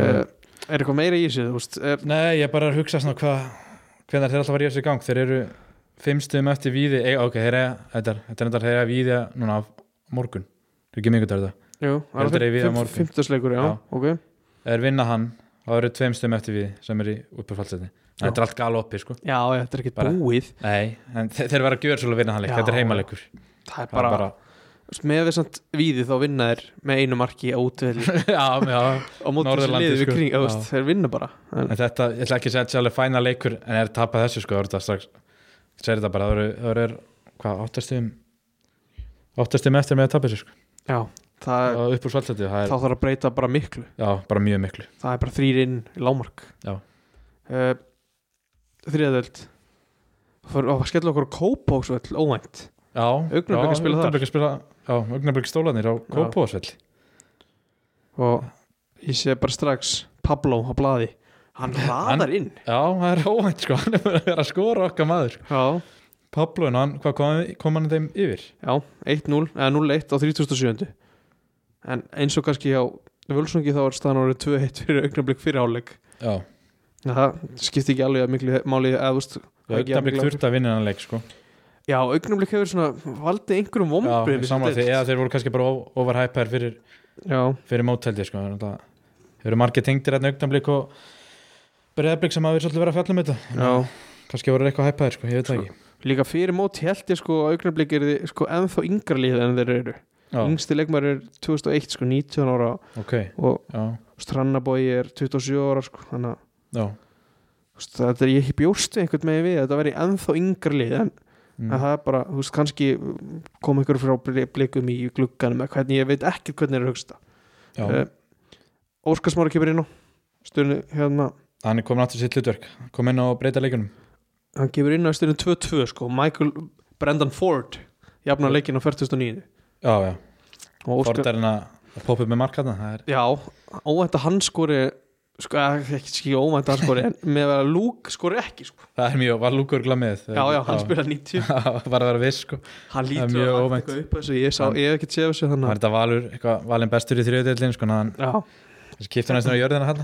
er eitthvað meira í þessu þú veist, er, Nei, ég er bara að hugsa svona hvað hvernig þeir alltaf var í þessu gang þeir eru fimm stöðum eftir víði e, ok, þeir eru, þetta er þetta er endar þeir eru að víði núna á morgun þeir eru ekki mikið þetta jú, Heldur Egill á morgun. fymtusleikur já, Já. ok þeir vinna hann og það eru tveim stöðum eftir víði sem eru í uppurfaldsæti Já. þetta er allt gal oppi sko já, þetta er ekkert Bara- búið Nei, en þe- þeir vera að gjöra svolítið að vinna hann leik Já. þetta er heimaleik það er bara, bara, bara Þú veist, með við samt víði þá vinna þér með einu marki á útvelli já, já, á móti þessu Norðurlandi, liði við sko. kring þú veist, Já. þeir vinna bara en, en þetta, ég ætla ekki að segja þetta sé alveg fæna leikur en er tapað þessu sko, það eru þetta strax segir þetta bara, það eru, það eru hvað, áttastum áttastum eftir með að tapa þessu sko já, það, og upp úr svaltættu, það þá er, þarf að breyta bara miklu já, bara mjög miklu það er bara þrýr inn í lámark Já. uh, þriðadöld og skella okkur á kópóksvöll óvænt já, Augnablik að spila þar. augnablik að spila já, augnablik stólanir á Kópavósvell og ég sé bara strax Pablo á blaði hann raðar inn já, það er óvænt sko, hann er bara að vera að skora okkar maður sko. já, Pablo, en hann, hvað kom, kom hann þeim yfir? já 1-0 eða 0-1 á 37. en eins og kannski á Völsungi þá er staðan árið 2-1 fyrir augnablik fyrirháleik já, það skipti ekki alveg að miklu máli eða, þú veist, það er ekki augnablik jafn miklu- þurft að vinna hann leik sko já, augnablik hefur svona valdið einhverjum já, vombrið saman því, eða þeir voru kannski bara overhypaðir fyrir já, fyrir mótældi sko. þannig að Það eru margir tengdir hérna augnablik og breyðablik sem hafa verið svolítið verið að fjalla um þetta já kannski voru þeir eitthvað hæpaðir, sko, ég veit það ekki Líka fyrir mót held ég sko að augnablik er þið sko ennþá yngra lið en þeir eru Já, Yngsti leikmar er 2001 sko 19 ára ok, og já, Strannabói er 27 ára sko þannig að já þú veist, þetta er ég ekki bjóst við einhvern megin við að þetta veri ennþá yngra lið en, mm. en það er bara, þú veist, kannski kom einhver frá bli- blikum í glugganum eða hvernig ég veit ekkert hvernig er að hugsta já. eh, Óskarsmára kemur inn á styrnu hérna Hann er komin aftur sitt hlutverk, kom inn á breyta leikunum hann kemur inn á styrnu 2-2 sko Michael Brendan Ford jafnar leikinn á 49 Já, já, og Óskar Ford er hann að poppa upp með markaðna það er, Já, óvænt að hann skori sko, eh, ekki skilja óvænt að hann skori en með að vera lúk skori ekki sko. það er mjög, var lúkur glamið Já, já, hann spilar 90 Var að vera viss, sko Hann Það er lítur mjög að óvænt. hægt eitthvað upp að þessu Ég, sá, Hann- ég hef ekki séð þessu Það þannig er þetta valur, eitthvað, valin bestur í þriðutöldin sko, hann að- Já, skiptur næstum á jörðina hann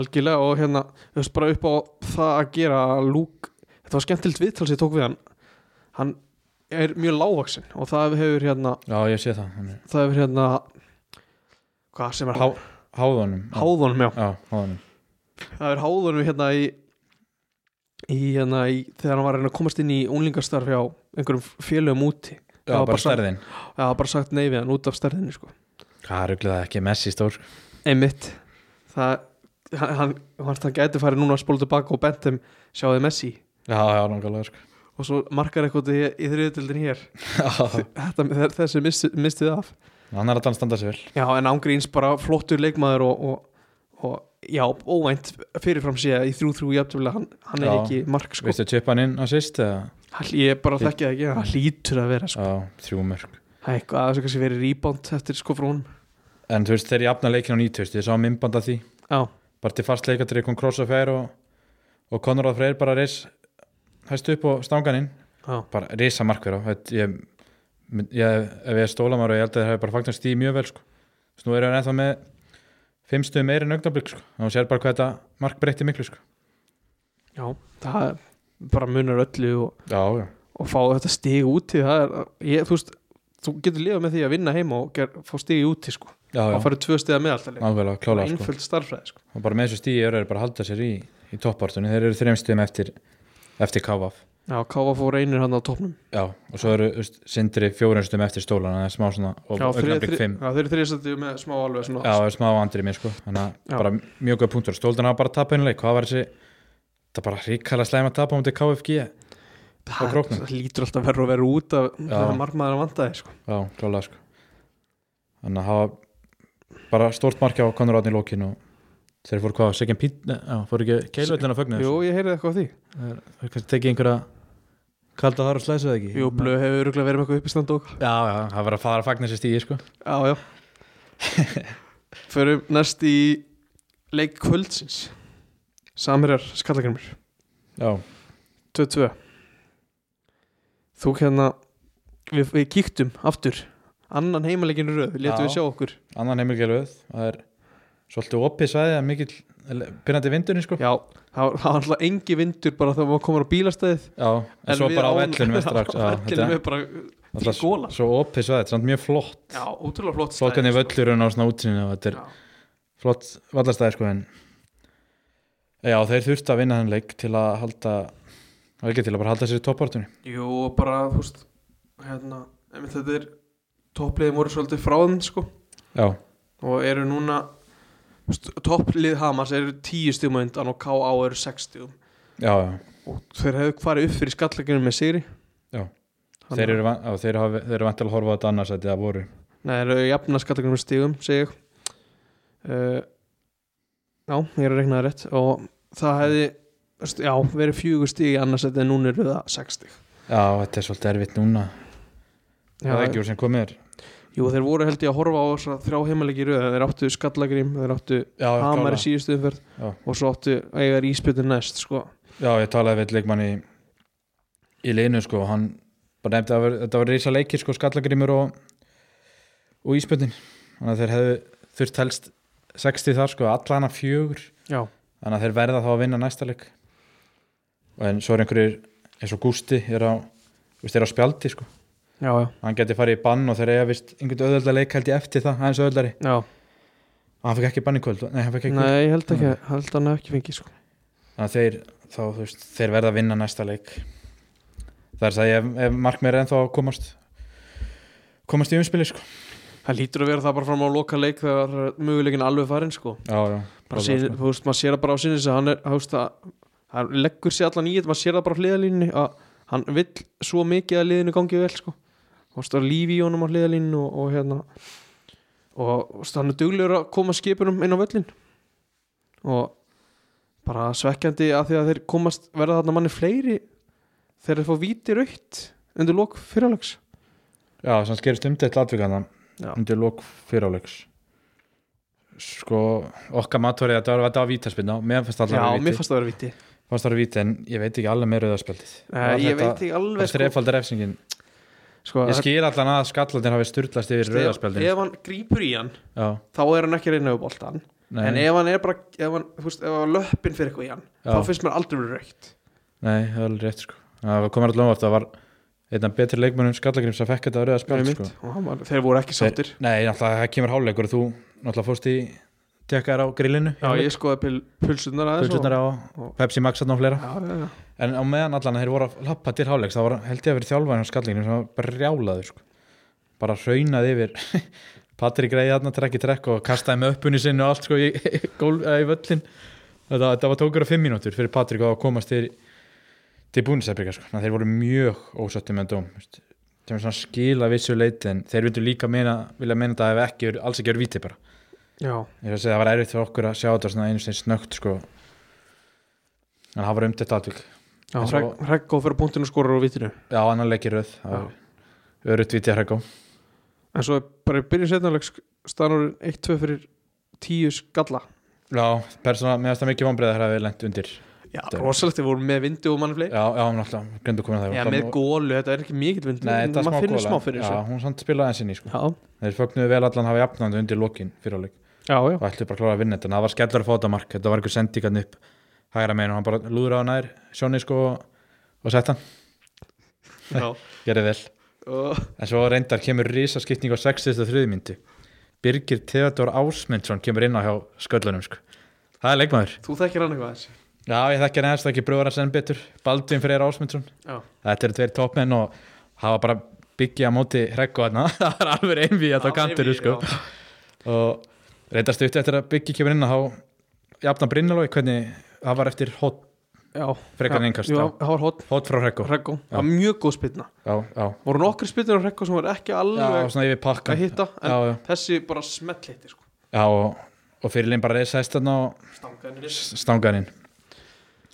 algjörlega og hérna þú veist bara upp á það að gera að lúk Þetta var skemmtilegt viðtal sem ég tók við hann Hann er mjög lágvaksin og það hefur hérna Já, ég sé það, hann er það hefur hérna hvað sem er há, Há- háðunum Já. háðunum já Já, háðunum Það er háðunum hérna í, í, hérna í þegar hann var að reyna að komast inn í unglingastarf hjá einhverjum félögum úti Já, var bara bara sam- stærðin Það var bara sagt nei við hann út af stærðinni sko. Hvað ruglið það ekki, Messi stór sko. Einmitt Það, hann, hann, hann gæti farið núna að spóla tilbaka og bent þeim sjáði Messi Já, já, nákvæmlega sko. og svo markar eitthvað í, í þriðutildin hér Já. Þetta, þe- þessi misti, mistið af Hann er að standa sig vel sko. Já en ángríns bara flottur leikmaður og, og, og já óvænt fyrirfram sé að í þrjú þrjú jafntöflega hann, hann er Já. ekki mark sko Veistu að tippa hann inn á sýst eða? hann, Ég bara þekki það ekki, hann hlýtur að vera sko. Já, þrjú mörg Það er eitthvað aðeins að kannski verið rebound eftir sko frá hún En þú veist, þegar ég afna leikin á 90 Ég sá minnband af því Já, Bara til fast leika til ég kom krossa fær og, og Konrad Freyr bara reis Hæst upp og stangan inn já, Bara reisa markverð á Þetta- ég, mynd- ég, Ef ég er stólamar og ég held að það hefur bara fagnast því mjög vel sko. Þess, Nú erum við ennþá með Fimm stuðum meir en augnablík sko. Þannig að sér bara hvað þetta mark breytti miklu sko. já Það er- bara munar öllu og, Já, já og fá þetta stig úti það er, ég, þú veist, þú getur lifað með því að vinna heima og ger, fá stig úti sko Já, og já, farið tvö stiga með alltaf alveg klála sko. einföld starffræði sko og bara með þessu stíi eru þeir bara að halda sér í, í toppartunni, þeir eru þreimstum eftir eftir KVF Já, Káfa fór einir hann á topnum já, og svo eru þú veist, sindri fjórunstum eftir stólana, það er smá svona og Já, þrið- augnablik þrið- fimm, já, þeir eru þriðstætti með smá alveg já, svona það er smá andri mér sko, þannig Já. að bara mjög góð punktur stóldan hafa bara tapað einleik, hvað var þessi það bara ríkala slæma tapa mútið KFG já, á það, króknum. það lítur alltaf verður að vera út af þegar margmaður að vanda þeir sko klálega sko þannig að hafa bara stórt markja á Conor Átni í lókin og þeir fóru hvað, Siggen Pít nei, já, fóru ekki keilvöldin að fögnu Jú, ég heyrði eitthvað á því þeir kannski tekið einhverja kalda þar og slæsið ekki Jú, blöð hefur örugglega verið með eitthvað uppistand og Já, já, það verður að fara að fagna sér stíði sko. Já, já Förum næst í leik kvöldsins Samherjar Skallagrimur Já, 2-2 Þú hérna við, við kíktum aftur annan heimaleikinu röð, við letum Já. við sjá okkur annan heimil gelöð Það er svolítið opið sæði að mikill pyrrandi vindurinn sko. Já, það var, það var alltaf engi vindur bara þegar maður komur á bílastæðið Já, en, svo við bara á án- vellunum er strax Já, Já, á þetta vellinum er er bara alltaf til gola. s- Svo opið sæði, samt mjög flott Já, ótrúlega flott sko. Flotkan í völlurinn og svona útsýninu og Þetta er Já. flott vallastæði sko, en... Já, þeir þurfti að vinna hann leik til að halda Það er ekki til að bara halda sér í toppartunni Jú, og bara, þú veist hérna, einmitt þetta er toppliðin voru svolítið frá þeim sko já, og eru núna st- topplið Hamas eru 10 stíðum undan og K.A. eru 6 stíðum já, já. og þeir hefðu farið upp fyrir skallakinu með Siri Já. Þeir, eru, van- já, þeir, hafa, þeir eru vant til að horfa á þetta annars að það voru Nei, þeir eru jafna skallakinu með stíðum segi ég uh, Já, ég er að rekna það rétt og það hefði st- já, verið fjögur stíð annars þetta en núna eru það 6 stíð já, þetta er svolítið erfitt núna það er ekki úr sem komið er Jú, þeir voru held ég að horfa á þessa þrjá heimaleiki í röð þeir áttu skallagrím, þeir áttu já, hamar í klálega. síðustu umferð Já. og svo áttu eigar íspjötu næst sko. já, ég talaði við einn leikmann í, í leinu sko, og hann bara nefndi að ver- þetta var reysa leikir sko, skallagrimur og, og íspöndin þannig að þeir hefðu þurft helst 60 þar sko, allana fjögur Já, þannig að þeir verða þá að vinna næsta leik og en svo er einhverjir eins og Gústi er á, viðst, er á spjaldi sko. já, já, hann geti farið í bann og þeir eiga vist einhvern öðvölda leik held ég eftir það, aðeins öðvöldari já. hann fekk ekki bann í kvöld, nei hann fekk ekki kvöld Nei, ég held ekki, held hann hafi ekki fengið sko. þannig að þeir, þá, þú veist, þeir verða að vinna næsta leik það er það ef, ef markmið er ennþá að komast komast í umspili sko. Það lítur að vera það bara fram á loka leik þegar möguleikin alveg farinn sko. já, já, Bara sér, sko. þú veist, maður sér það bara á sinni þess að hann er, þú veist, að hann leggur sér allan í þetta, maður sér það bara á hliðalínni að hann vill svo mikið að liðinu gangi vel sko. Þú veist, það er lífi í honum á hliðalínu og, og hérna og þú veist, hann er duglegur að koma skipunum inn á völlin og bara svekkjandi að því að þeir komast verða þarna manni fleiri þegar þeir fá víti raukt undir lok fyrirlegs já, sem skerist umdelt atvikana Já. undir lok fyriráleiks sko, okkar matórið þetta var þetta var vítaspilna, mér Já, fannst alltaf að mér víti, fannst það að vera víti fannst það að víti en ég veit ekki alveg meira auðarspjaldið Uh, ég veit ekki alveg þetta sko, þrefaldar refsingin sko, ég skil allan að skallandir hafi sturlast yfir ef, rauðarspjaldin ef hann grípur í hann já, þá er hann ekki að reyna upp boltan nei, en ef hann er bara ef hann, þú veist, ef hann löppin fyrir eitthvað í hann Já. þá finnst mér aldrei verið reykt Nei, það er alveg rétt sko Það komur alltaf óvart, það var einn af betri leikmönnum skallagrims að fekk þetta að rauða spjald sko. Og hann var- þeir voru ekki sáttir Nei, náttúrulega það kemur háluleikur og þú náttúrulega fórst í tekkaðar á grillinu Já, ég skoði pil, pulsunar aðeins og- Pulsunar á og- Pepsi Max þarna og fleira Já, já, já. En á meðan allan að þeir voru að lappa til háluleiks þá var held ég að verið þjálfæðin á skallagrims sem var bara rjálaður sko. bara raunaði yfir Patrik Reyði þarna trekk í trekk og kastaði með uppunni sinni og allt sko í, gól, eh, í völlin þetta, þetta var tókur á fimm mínútur fyrir Patrik að komast til, til búnisæbyrga sko. Þannig að þeir voru mjög ósattu með dóm veist. þeim er svona skila vissu leiti en þeir vildu líka meina, vilja meina þetta ef ekki, verið- alls ekki verið víti bara já, ég er að segja það var erfitt fyrir okkur að sjá þetta svona einu sinni snögt sko. en það var umdelt atvik já En svo- Hreg- Hreggó fyrir punktinu skorar úr vitinu já, annan leikir röð örutt víti að hrekka en svo bara byrjum setnaleg stanur 1-2 fyrir 10 skalla já, persóna, mér finnst það mikið vonbreið að það hefði lent undir Já, rosalegt, þeir voru með vindu og mann fleiri já, já, náttúrulega, grindu komin að það Já, Kom- með gólu, þetta er ekki mikill vindu Nei, en þetta er maður finnur gola. smá fyrir Já, þessu hún samt spilaði enn sinni sko. Já, Þeir fögnuðu vel allan hafa jafnandi undir lokin fyrir áleik já, já og ætluðu bara að klára að vinna þetta en það var skellur að fá þetta mark þetta var einhver sendingan upp hægra megin og hann bara lúður á nær Sjóni sko og, og sett hann Já, gerði vel og en svo reyndar kemur risaskipning á 63. myndu Birgir Theodor Ásmundsson kemur inn á hjá sköllunum sko það er leikmaður þú þekkir hann eitthvað þessi Já, ég þekki hann eðast ekki bröður að senn betur Baldvin Freyr Ásmundsson Já. Þetta eru tveir toppmenn og hafa bara byggja á móti hrekku hann það er alveg einvið að það kantur sko. og reynda stutt eftir að byggja kemur inn að há jafna Brynjalói, hvernig það var eftir hot, Já, frekar Já, en einhvers já, það var hot hot frá hrekku Já, Hreggó, það var mjög góð spilna já, voru nokkri spilnir á Hreggó sem voru ekki já, alveg svona yfir að pakkan Já, hitta en já, þessi bara smelt hitti sko. já og, og fyrirlin bara reysa hestan og Stangaði henni niður. stangaðin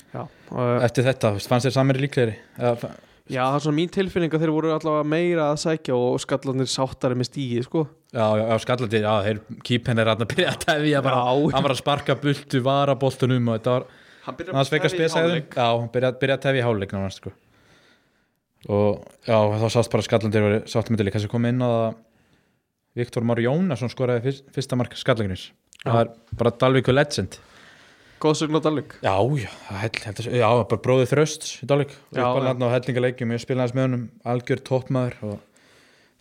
já, og, eftir þetta, þú veist, fannst þér samir líklegri Eða fa- já, það er svona mín tilfinning að þeir voru allavega meira að sækja og skallanir sáttari með stígi sko. Já, já, já, skallandi, já, þeir kýpen er að byrja að tefja bara, Já. hann var að sparka bultu, vara boltunum og þetta var, hann byrjar hann sveika spesæðum, já, hann byrja, byrja að tefja í háleik náttúrulega, sko. Og já, þá sást bara skallandi, sáttum þetta líka sem kom inn á það, Viktor Már Jónasson skoraði fyrst, fyrsta mark skallangrins, Já. það er bara Dalvíku legend. góðsögn á Dalvik Já, já, það held, held, að- já, bara bróðið þröst í Dalvík, Já, já. uppalðan á hellingaleikjum, ég spilaði hans með honum, algjör toppmaður og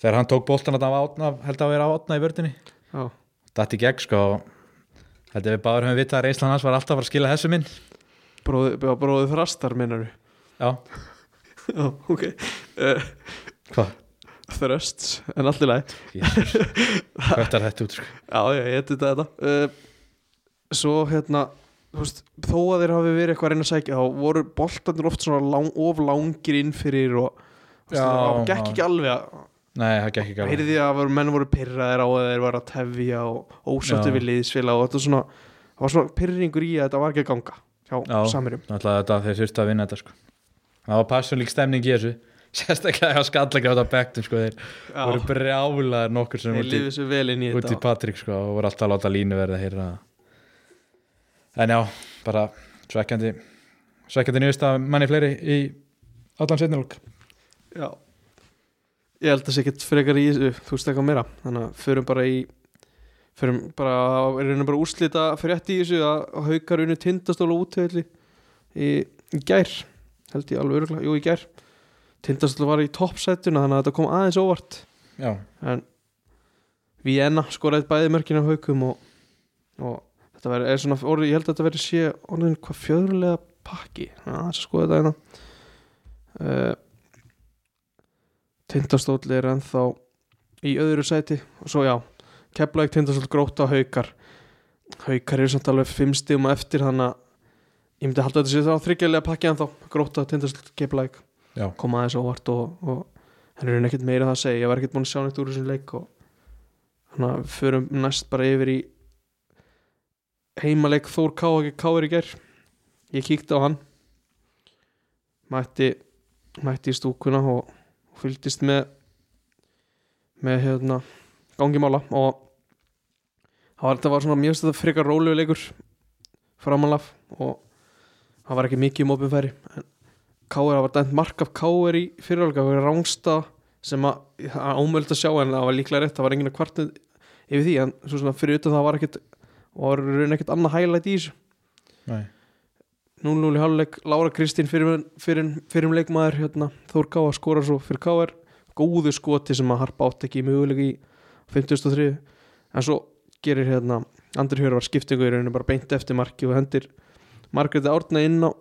þegar hann tók boltan að átna, held að vera átna í vördinni já, dætt í gegn sko Þetta við báður höfum vitað að reynslan hans var alltaf að fara að skila þessu minn bróði, bróði þrastar minnar Já, já, ok uh, hvað? Thrusts, en allt í lagi Þetta er þetta út sko. Já, ég heiti þetta uh, Svo hérna þú veist, þó að þeir hafi verið eitthvað að reyna að sækja þá voru boltarnir oft svona lang, of langir inn fyrir og þú veist, Já, það gekk já. ekki alveg að Nei, það gekk ekki alveg heyrði að voru, menn voru pyrraðir á að þeir voru að tefja og ósáttu Já. við liðsfélag og þetta var svona, það var svona pyrringur í að þetta var ekki að ganga hjá Já. samirjum Náttúrulega þetta þeir þurftu að vinna þetta sko. Það var passionlík stemning í þessu Sérstaklega að skalla ekki á þetta bektum sko. Þeir voru Já, brjálaðir nokkur sem þeir út í, lifið sér vel inn í út í þetta Patrik sko, og voru alltaf að láta línu verða að heyra það. En já, bara svekkjandi svekkjandi nýðust að manni fleiri í allan setnilók Já Ég held að það sé ekkert frekar í þessu, þú veist eitthvað meira þannig að förum bara í förum bara, er reynum bara úrslita frétt í þessu að haukar unni tindastóla útvöldi í, í gær held ég alveg öruglega, jú í gær tindastóla var í toppsætuna þannig að þetta kom aðeins óvart Já, en Vienna skoraði bæði mörkin af haukum og, og þetta verið, er svona orðið, ég held að þetta verið sé orðin hvað fjöðrulega pakki þannig að þess að skoða þetta hérna uh, Tindastóll er ennþá í öðru sæti og svo já, Keflavík Tindastóll gróta haukar haukar eru samt alveg fimm stíum eftir þannig að ég myndi halda að þetta sér þá þryggjalega pakki ennþá gróta Tindastóll Keflavík Já. koma aðeins óvart og, og hann er ekkert meira það að segja, ég var ekkert búin að sjá neitt úr þessum leik og þannig að við förum næst bara yfir í heimaleik Þór Ká ekki Káir í gær ég kíkti á hann mætti mætti í stúkuna og og fylgdist með með hérna gangi mála og það var, þetta var svona mjög stöða frekar rólegu leikur framanlaf og það var ekki mikið um opinfæri en K.R. var dæmt mark af K.R. í fyrirhálka það var rángsta sem að það er ómöld að sjá en það var líklega rétt það var enginn að kvartu yfir því en svo svona fyrir utan það var ekkit var raun ekkit annað highlight í þessu nei, 0-0 í háluleik, Lára Kristín fyrir, fyrir, fyrir leikmaður hérna, Þór Káa skora svo fyrir Káar góðu skoti sem að harpa átt ekki möguleika í 53 en svo gerir hérna Andri Hjörvar skiptingu í rauninu bara beint eftir marki og hendir Margréti Árna inn á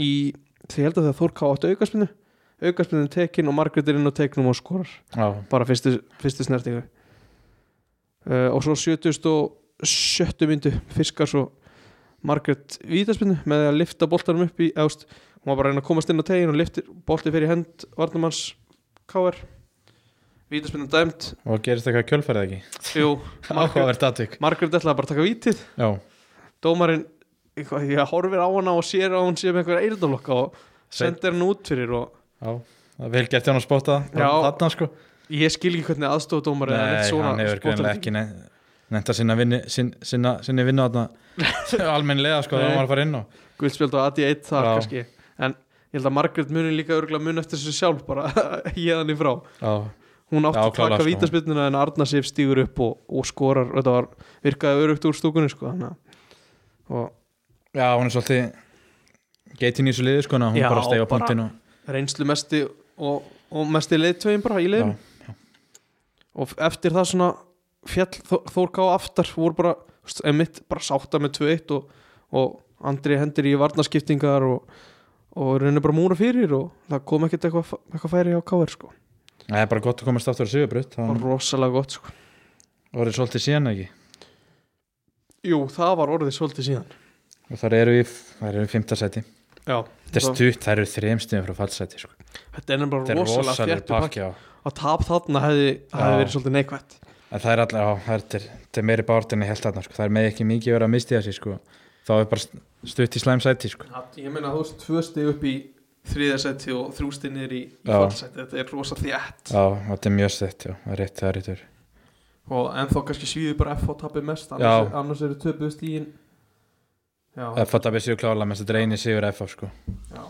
í, því held að þegar Þór Káa átti aukaspinnu aukaspinnu tekin og Margréti er inn á tekinum og skorar já, bara fyrstu, fyrstu snertingu uh, og svo 77 myndu fiskar svo Margaret Vítaspinnu með að lifta boltanum upp í eðust, hún var bara að reyna að komast inn á tegin og liftir bolti fyrir hend Varnamanns KR Vítaspinnu dæmt og gerist eitthvað kjölfærið ekki Jú, Margaret, Áhugavert atvik Margaret ætlaði bara að taka vítið Já, dómarinn, eitthvað, ég horfir á hana og sér að hún sé með einhverja eyrnalokka og sendir hann út fyrir og já, það er vel gert hjá hann að spóta Já. þarna sko ég skil ekki hvernig aðstofdómar Nei, hann hefur greinlega ekki nefnt að sinna vinni sin, sinna, sinni vinna þarna almennilega sko, Nei. það var að fara inn á guldspjöld og aði eitt þar Já. kannski en ég held að Margaret muni líka örgulega mun eftir þessu sjálf bara hérðan í frá Já, hún átti Já, að taka klárlega, sko. sko. vítaspilnuna en Arna Sif stígur upp og, og skorar þetta var, virkaði örugt úr stúkunni sko, þannig að- og já hún er svolítið geitin í þessu liði sko, þannig að hún Já, bara steg á bara- punktin og, reynslu mesti og, og mesti leiðtögin bara í leiðinu og eftir það svona fjall Þó- Þór Ká aftar voru bara emitt bara sátta með 2-1 og, og Andri hendir í varnaskiptingar og, og reynir bara múra fyrir og það kom ekkert eitthvað eitthva færi á KR sko, það er bara gott að komast aftur á sigurbrut það var það rosalega gott sko voru svolítið síðan ekki Jú, það var orðið svolítið síðan og þar eru í, þar eru í fymta seti Já, þetta er stutt, þær eru þremstum frá fallseti sko. þetta er þetta nefnilega er rosalega rosalega þjættu pakki pakki á og tap þarna hefði, hefði Já. verið svolítið neikvætt En það er allir, já, það er, þetta er, þetta er meiri bártinni held þarna, sko. það er með ekki mikið verið að mistiða sig, sko. þá er bara st- stutt í slæm sæti, sko. Ég meina þú veist, tvö stið upp í þriðarsætti og þrjústið niður í Já. fallsætti, þetta er rosa þjætt Já, þetta er mjög stett, já, það er rétt, það er réttur. og ennþá kannski svíður bara F og tapir mest annars, Já. annars eru töpuð stíðin Já, F að dabbi sigur klála, mennst þetta er eini sigur F, sko. já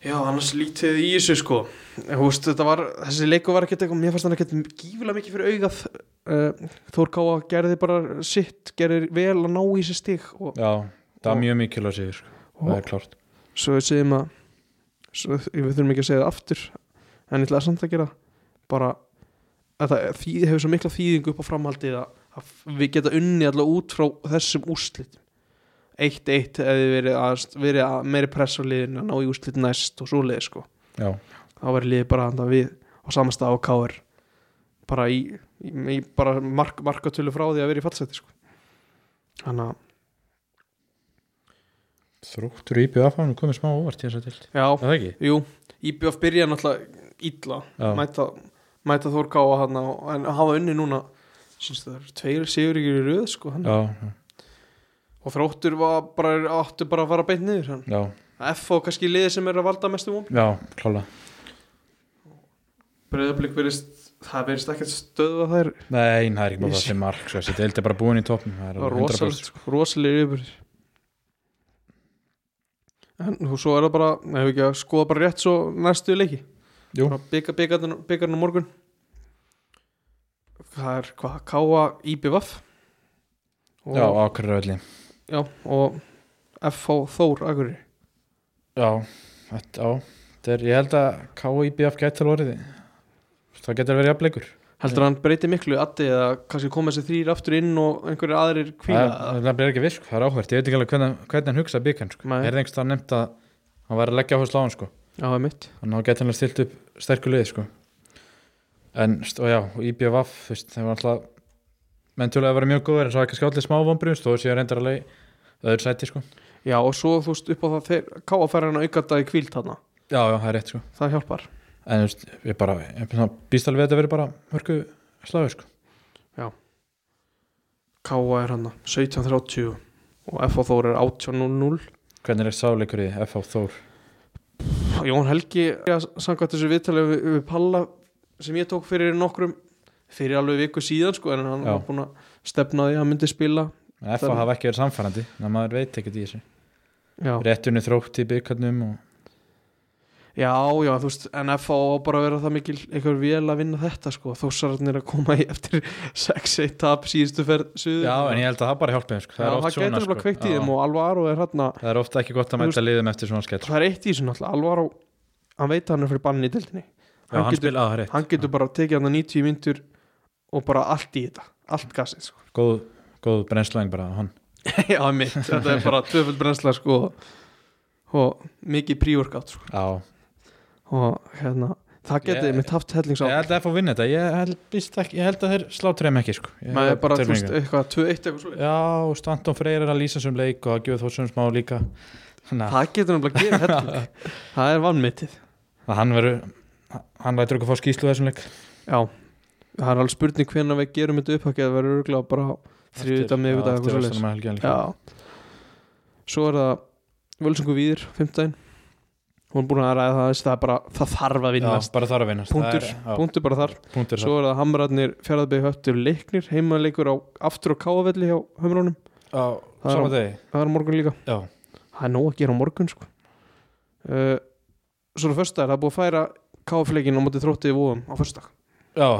Já, annars lítið í þessu sko Þú veist, þetta var, þessi leiku var ekkert eitthvað, mér fannst hann ekkert gífulega mikið fyrir augað uh, Þór Káa gerði bara sitt, gerði vel að ná í sér stig og, Já, það Og- er mjög mikilvæg sigur, sko. það og er klárt. svo við segjum að svo, við þurfum ekki að segja það aftur en ég ætla að samt að gera það. bara að það því, hefur svo mikla þýðingu upp á framhaldið að, að við geta unni alltaf út frá þessum úrslitum eitt eitt hefði verið, að, verið að meiri press á liðinu að ná í úrslit næst og svoleið sko Já, þá verður liðið bara handa við á samasta á KR bara í, í, í bara mark, markatölu frá því að vera í fallseti sko. þannig að Þróttur íbjöð af hann komið smá óvart í þessa tild já, Það ekki? jú, IBF byrja náttúrulega illa Já. mæta, mæta Þór Káa hann en hafa unni núna syns það er tveir sigur í röð sko, hann. Já, já, og þróttur var bara, áttu bara að fara beint niður hann. já, F og kannski liðið sem er að valda mestu vombi já, klála Breiðablík verðist það verðist ekkert stöða þær Nei, það er ekki bara Ég það sem mark sko. Þessi deild er bara búin í topnum Það er það var alveg 100%. rosalegt, sko, rosalegir yfir en og svo er það bara hefur ekki að skoða bara rétt svo næstu leiki Jú. bara bygga byggarn á morgun það er hvað K.A. IBVF og, Já, ákveður öllu já, og F.H. Þór Akurri Já, þetta, já þetta er, ég held að KIBF gæti alveg orðið það getur verið jafnleikur heldur hann breyti miklu addi eða kannski koma þessi þrýr aftur inn og einhverjir aðrir það kvíla er- það er ekki visk, það er áhvert, ég veit ekki alveg hvernig, hvernig hann hugsaði byggan, sko, Nei. er það einhverstað nefnt að hann væri að leggja áherslu á hann, sko já, það er mitt þannig að hann gæti hann stilt upp sterkur liði, sko en, st- og já, og IBF þú veist, þeim var alltaf menn tjóðlega að vera mjög góður, en svo ekki skjállið smá vonbrunst og séu reyndar alveg í öðru sæti, sko já, og svo þú veist upp á það þeir K.A. fær hann auka dag í kvíld þarna já, já, það er rétt, sko það hjálpar en, þú veist, ég bara, ég bara býst alveg við að þetta verið bara hörku slagur, sko K.A. er hann 17.30 og F.A. Þór er 18.00 hvernig er sáleikur í FH Þór Jón Helgi samkvæmt þessu viðtalið við, við Palla sem ég tók fyrir nokkrum fyrir alveg viku síðan sko en hann Já. var búin að stefna að því að hann myndi spila FH Þannig- hafa ekki verið samfærandi þannig að maður veit ekkert í þessu Já, réttunni þrótt í byggarnum og... já, já þú veist en F.A. á bara að vera það mikil einhver vel að vinna þetta sko þósararnir að koma í eftir 6-1 tap síðustu ferð suður já en ég held að það bara hjálpi þeim sko. Já, það, er oft það svona, getur bara sko. kveikt í Já. þeim og Alvaro er hann að það er ofta ekki gott að Þú mæta liðum eftir svona sko. skell það er eitt í þessu náttúrulega Alvaro, hann veit að hann er fyrir banni í dildinni hann, hann, spil, á, rétt, hann getur bara tekið hann að 90 myndur og bara allt í þetta, allt gassið sko. góð, góð brennslaðing bara á hann já mitt, þetta er bara tvöföld brennsla sko, og mikið prívorkátt sko. já. og hérna það Ég- getur yeah. mitt haft hellings á ég held að FH vinna þetta ég held, býst ekki, ég held að þeir slá trefum ekki sko. Ég- maður er bara, þú tilfinningu. veist, eitthvað 2-1 eitthvað svo já, og Stanton Freyr er að lýsa sem leik og að gjöð þóssum smá líka þannig það getur nefnilega að gera helling það er vannmitið, að hann verður hann lætur okkur að fá skýslu í þessum leik já það er alveg spurning hvernig við gerum þetta upphækja það verður örgulega bara þriðudag, miðvitað eitthvað svo leis leik Já Svo er það Völsungu Víðir, 15 Hún er búin að ræða það aðeins, það er bara það þarf að Já, vinnast bara þar að vinnast Punktur, Það er- já, Punktur bara þar punktur Svo er það Hamrarnir, Fjaraðbygg, Höttur, Leiknir Heimaleikur á aftur og káavelli hjá Humrónum á það er sama á- degi Það er á morgun líka já, Það er nóg að gera á morgun sko uh, Svo er það föstudag, það er búið að færa káafleikin á móti þróttið vóðum á föstudag já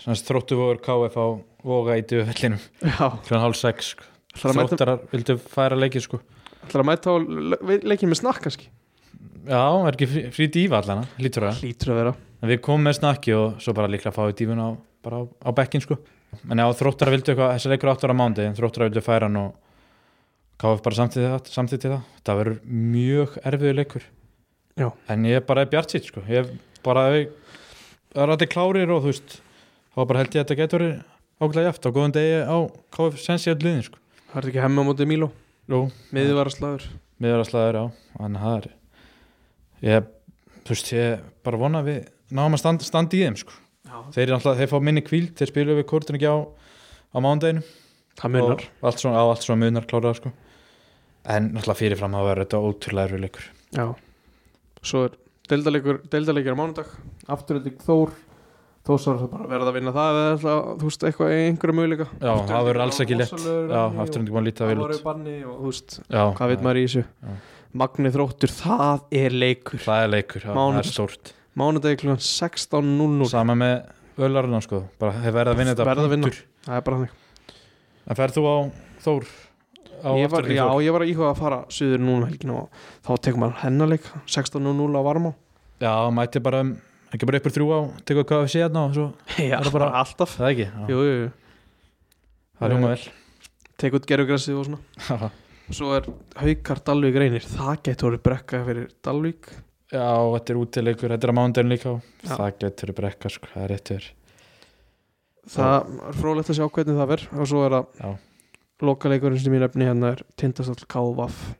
Sanns, þróttu voru KF á voga í döfellinum Já, kljóðan hálf sex sko. ætlar að mæta, þróttarar vildu færa leikið sko. ætlar að mæta á le- le- leikin með snakk kannski já, er ekki frí, frí dífa allan lítur það, Hlýtur að vera en við komum með snakki og svo bara líklega fáið dífun á, bara á, á bekkin sko. en já, þróttarar vildu eitthvað þessi leikur áttur á mándi, en þróttarar vildu færa hann og KF bara samþýtti það, samþýtti það það verður mjög erfiður leikur Já. en ég er bara bjart sitt sko. ég er bara það er allir klárir og þú veist þá bara held ég að þetta getur verið ákveðlega jaft á góðum degi á KF sensi öll liðin sko. Það er ekki hemmi á móti Míló, Jú, miðvaraslagur miðurarslaður á þannig að það er ég, þú veist, ég bara vona að við náum að standa, standa í þeim sko. Já, þeir, eru alltaf, þeir fá minni kvíld, þeir spilum við kortin ekki á á mándaginu það munar og allt svona, á allt svona munar klára sko. en náttúrulega fyrirfram að vera þetta ótrúlega erfið leikur Já Svo er deildarleikur, deildarleikur á mánudag Afturölding Þór Þósar bara verða að vinna það eða ætla, þú veist eitthvað einhverja möguleika já, það verður alls ekki lett Rossalegur já, venni aftur og- en ekki búin að líta Það vel voru út banni og þú veist já, hvað veit maður í þessu Já. Magni Þróttur, það er leikur það er leikur, já, það er Mánudagur. stórt Mánudagi kl. 16.00 sama með ölarna sko, bara þeir verða að vinna þetta Verða að vinna. punktur. Það er bara þannig en ferð þú á Þór á ég var, Afturelding Já, Þór? ég var að íhuga að fara suður núna um helginu og þá tekur maður hennarleik 16.00 á varma Já, mæti bara, um, ekki bara uppur þrjú á tegur hvað við séð hérna og svo Já, Er það bara- bara alltaf Það ekki, já, Jú, jú, jú það hljóma vel Tek út gerugræsið og svona Já, Svo er Haukar Dalvík reynir Það getur orðið brekka fyrir Dalvík Já, þetta er útileikur, þetta er að mándaginn líka og Já. það getur brekka sko, það er réttur það er frólægt að sjá hvernig það verð og svo er Já. að lokaleikurinn sem ég nefni hérna er tindastall KVF já,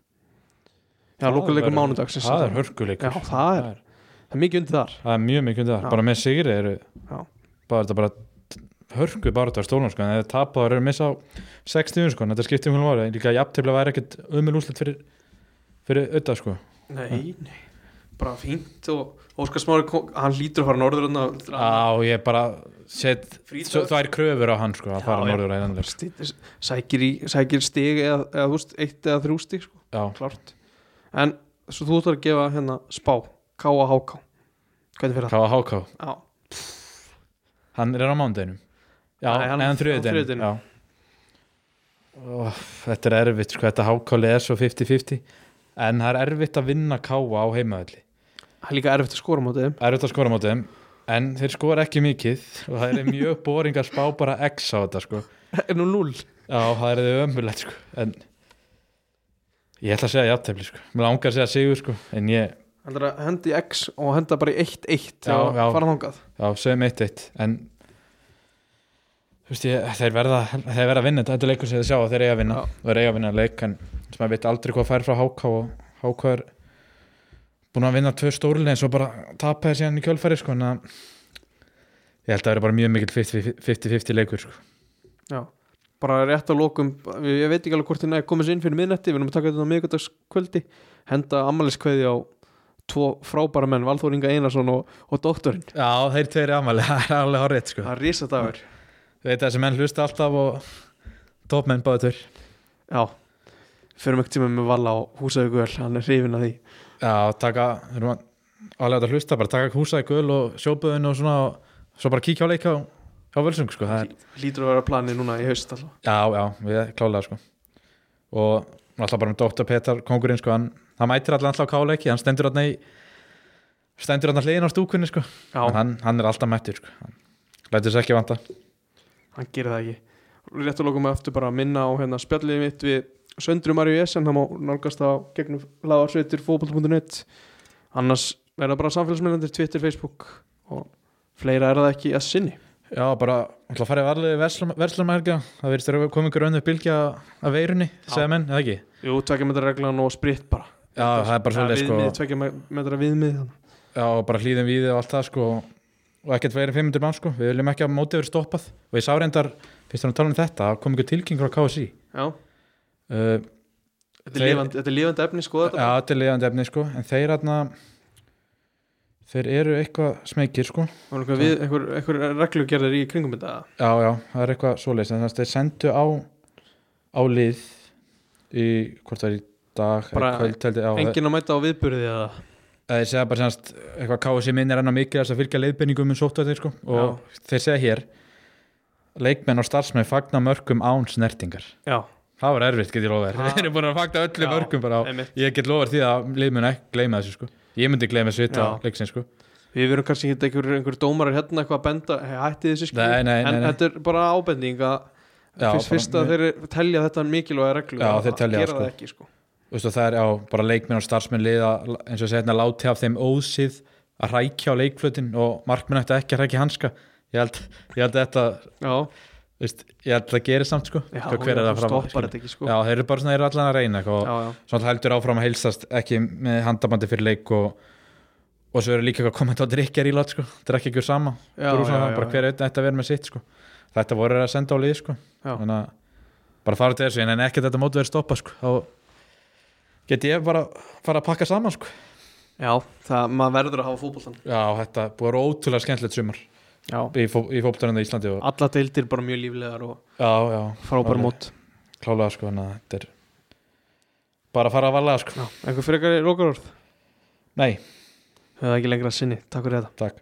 Það lokaleikur verður- mánudagsins Það er hörkuleikur Já, það er- það er mikið undir þar það er mjög mikið undir Já. það, bara með sigri eru Já. bara þetta bara hörku bara þetta stólun sko, en ef það tapaður eru að missa á 60 sko, en þetta skiptir mjög máli líka jafntefla væri ekkert umil úslit fyrir fyrir auðvitað sko Nei, nei, bara fínt og Óskar Smári, kom- hann lítur að fara norður hérna og Já, ég bara set Frídagur. það er kröfur á hann sko að Já, fara já. norður að einanlega sækir, í, sækir stig eða, eða þú veist, eitt eða þrjú stig sko, Já, klart en svo þú ætlar að gefa hérna spá, K.A. H.K. hvernig fyrir það? Káa Háká, Já, hann er á mándaginn Já, Nei, hann- en á þriðjudaginn. þriðudaginn Já Ó, Þetta er erfitt sko, þetta hákáli er svo 50-50 en það er erfitt að vinna Káa á heimavalli það er líka erfitt að skora mótið þeim erfitt að skora á móti þeim en þeir skora ekki mikið og það er mjög boring að spá bara X á þetta sko. er nú 0 já, það er þau ömulegt sko. en ég ætla að segja jafntefli sko. mér langar að segja sigur sko. en ég, Það er að henda í X og henda bara í 1-1 Já, og já. fara þangað já, segjum eitt eitt en þú veist ég, þeir verða þeir verða að vinna, þetta Þetta er leikur sem þeir sjá og þeir eiga að vinna Já. og þeir eiga að vinna leik en sem að veit aldrei hvað fær frá HK og HK er búin að vinna tvö stórlega en svo bara tapa þeir síðan í kjölfæri sko, en að ég held að það eru bara mjög mikil 50 50-50 leikur sko. bara rétt að lokum, ég ég veit ekki alveg hvort þið komið sér inn fyrir miðnætti, við erum að taka þetta á miðgudagskvöldi, henda ammaliskveði á tvo frábæra menn, Valþór Inga Einarsson og, og doktorinn, Já, þeir tveir amali, það er alveg horrið sko. það er risadagur Við veit þessi menn hlusta alltaf og topmenn báður tveir. já, fyrir mjög tíma með Valla og Húsavíkvöld, hann er hrifin að því Já, taka, erum að alveg að hlusta, bara taka húsa í gul og sjóbuðin og svona og svo bara kíkja á leika á, á völsung sko. Það Er, lítur að vera planið núna í haust alltaf já, já, við klálega sko. Og alltaf bara með Dr. Petar kongurinn sko, hann, hann mætir alltaf alltaf á káleiki, hann stendur alltaf í stendur alltaf hliðin á stúkunni sko. En já, Hann, hann er alltaf mættur sko. Hann Lætur sér ekki vanta. hann gerir það ekki rétt að lokum með aftur bara að minna á hérna spjallið mitt við Söndru Marju Esen, hann má nálgast á gegnum laðarsveitir fókbalt.net annars er það bara samfélagsmyndandir Twitter, Facebook og fleira er það ekki að sinni Já, bara alltaf farið varlega verslumælgja, það verðist að koma ykkur önnur bylgja af veirunni, Já. segja menn, eða ekki? Jú, tveggjametra reglan og spritt bara Já, það er bara svolítið sko, viðmið, Tveggjametra viðmið þannig. já, og bara hlýðum við og allt það sko, og ekkert fleiri en 500 mann sko, við viljum ekki að mótið verið stoppað og ég sá reyndar, fyrst hann að tala um þetta, það kom ykkur tilkynningur á KSI. Já, Uh, þetta er, Þeir- lifandi, þetta er lifandi efni sko já, þetta er leiðandi Uh, efni sko, en þeir aðna, þeir eru eitthvað smekir sko, Og einhver, við, einhver, einhver reglugerðir í kringum þetta Já, já, það er eitthvað svoleiðis en þannig að þeir sendu á á lið í hvort það er í dag eða Bara kvöld, held ég, já, Engin að mæta á viðburði eða að þeir segja bara semast eitthvað KSI minnir enn á mikið þess að fylgja leiðbenningum um sóttuðir sko og þeir segja hér leikmenn og starfsmenn fagna mörgum án snertingar Já, það var erfitt get ég lofa þér Ha. þeir eru búin að fagna öllu Já, mörgum bara á einmitt ég get lofa þér því að lið mun ekki gleyma þessu sko ég myndi gleyma þessu hitt á Já. leiksin sko Við verum kannski ekki einhver, einhver dómarar hérna eitthvað að benda hey, Hætti þessu skil Nei, nei, nei, En nei. þetta er bara ábending að Já, fyrst, bara fyrst að þeir telja þetta mikilvæga reglu Já, að þeir telja það, gera sko. það ekki sko Þú veist og það er á bara leikmenn og starfsmenn liða eins og segja hérna láti af þeim ósið að rækja á leikflutin og markmenn ætti ekki að rækja hanska ég held, ég held að þetta Já, þú veist, ég held að það gerir samt sko já Hvað- hver er það fram stoppar þetta ekki sko já þeir eru bara svona þeir eru allan að reyna eitthvað, og já, já. svona heldur áfram að heilsast ekki með handabandi fyrir leik og, og svo eru líka eitthvað komandi á drikkjar í lát sko drekki ekki úr sama Já, Brúsa, já, já, bara já. hver auðvitað ætti að vera með sitt sko þetta voru þeir að senda á lið sko Já. þannig að bara fara til þessu en ekki þetta mót verið stoppa sko þá get ég bara fara að pakka saman sko Já, það, maður verður að hafa fótboltan já þetta búið að vera ótrúlega skemmtilegt sumar Já, í, fó, í fóptarinn á Íslandi og, alla deildir bara mjög líflegar og já já frábær Alveg. mót klálega sko þannig að þetta er bara að fara að varlega sko Já, einhver frekar í lokarorð nei Hefur það ekki lengra að sinni, takk fyrir þetta takk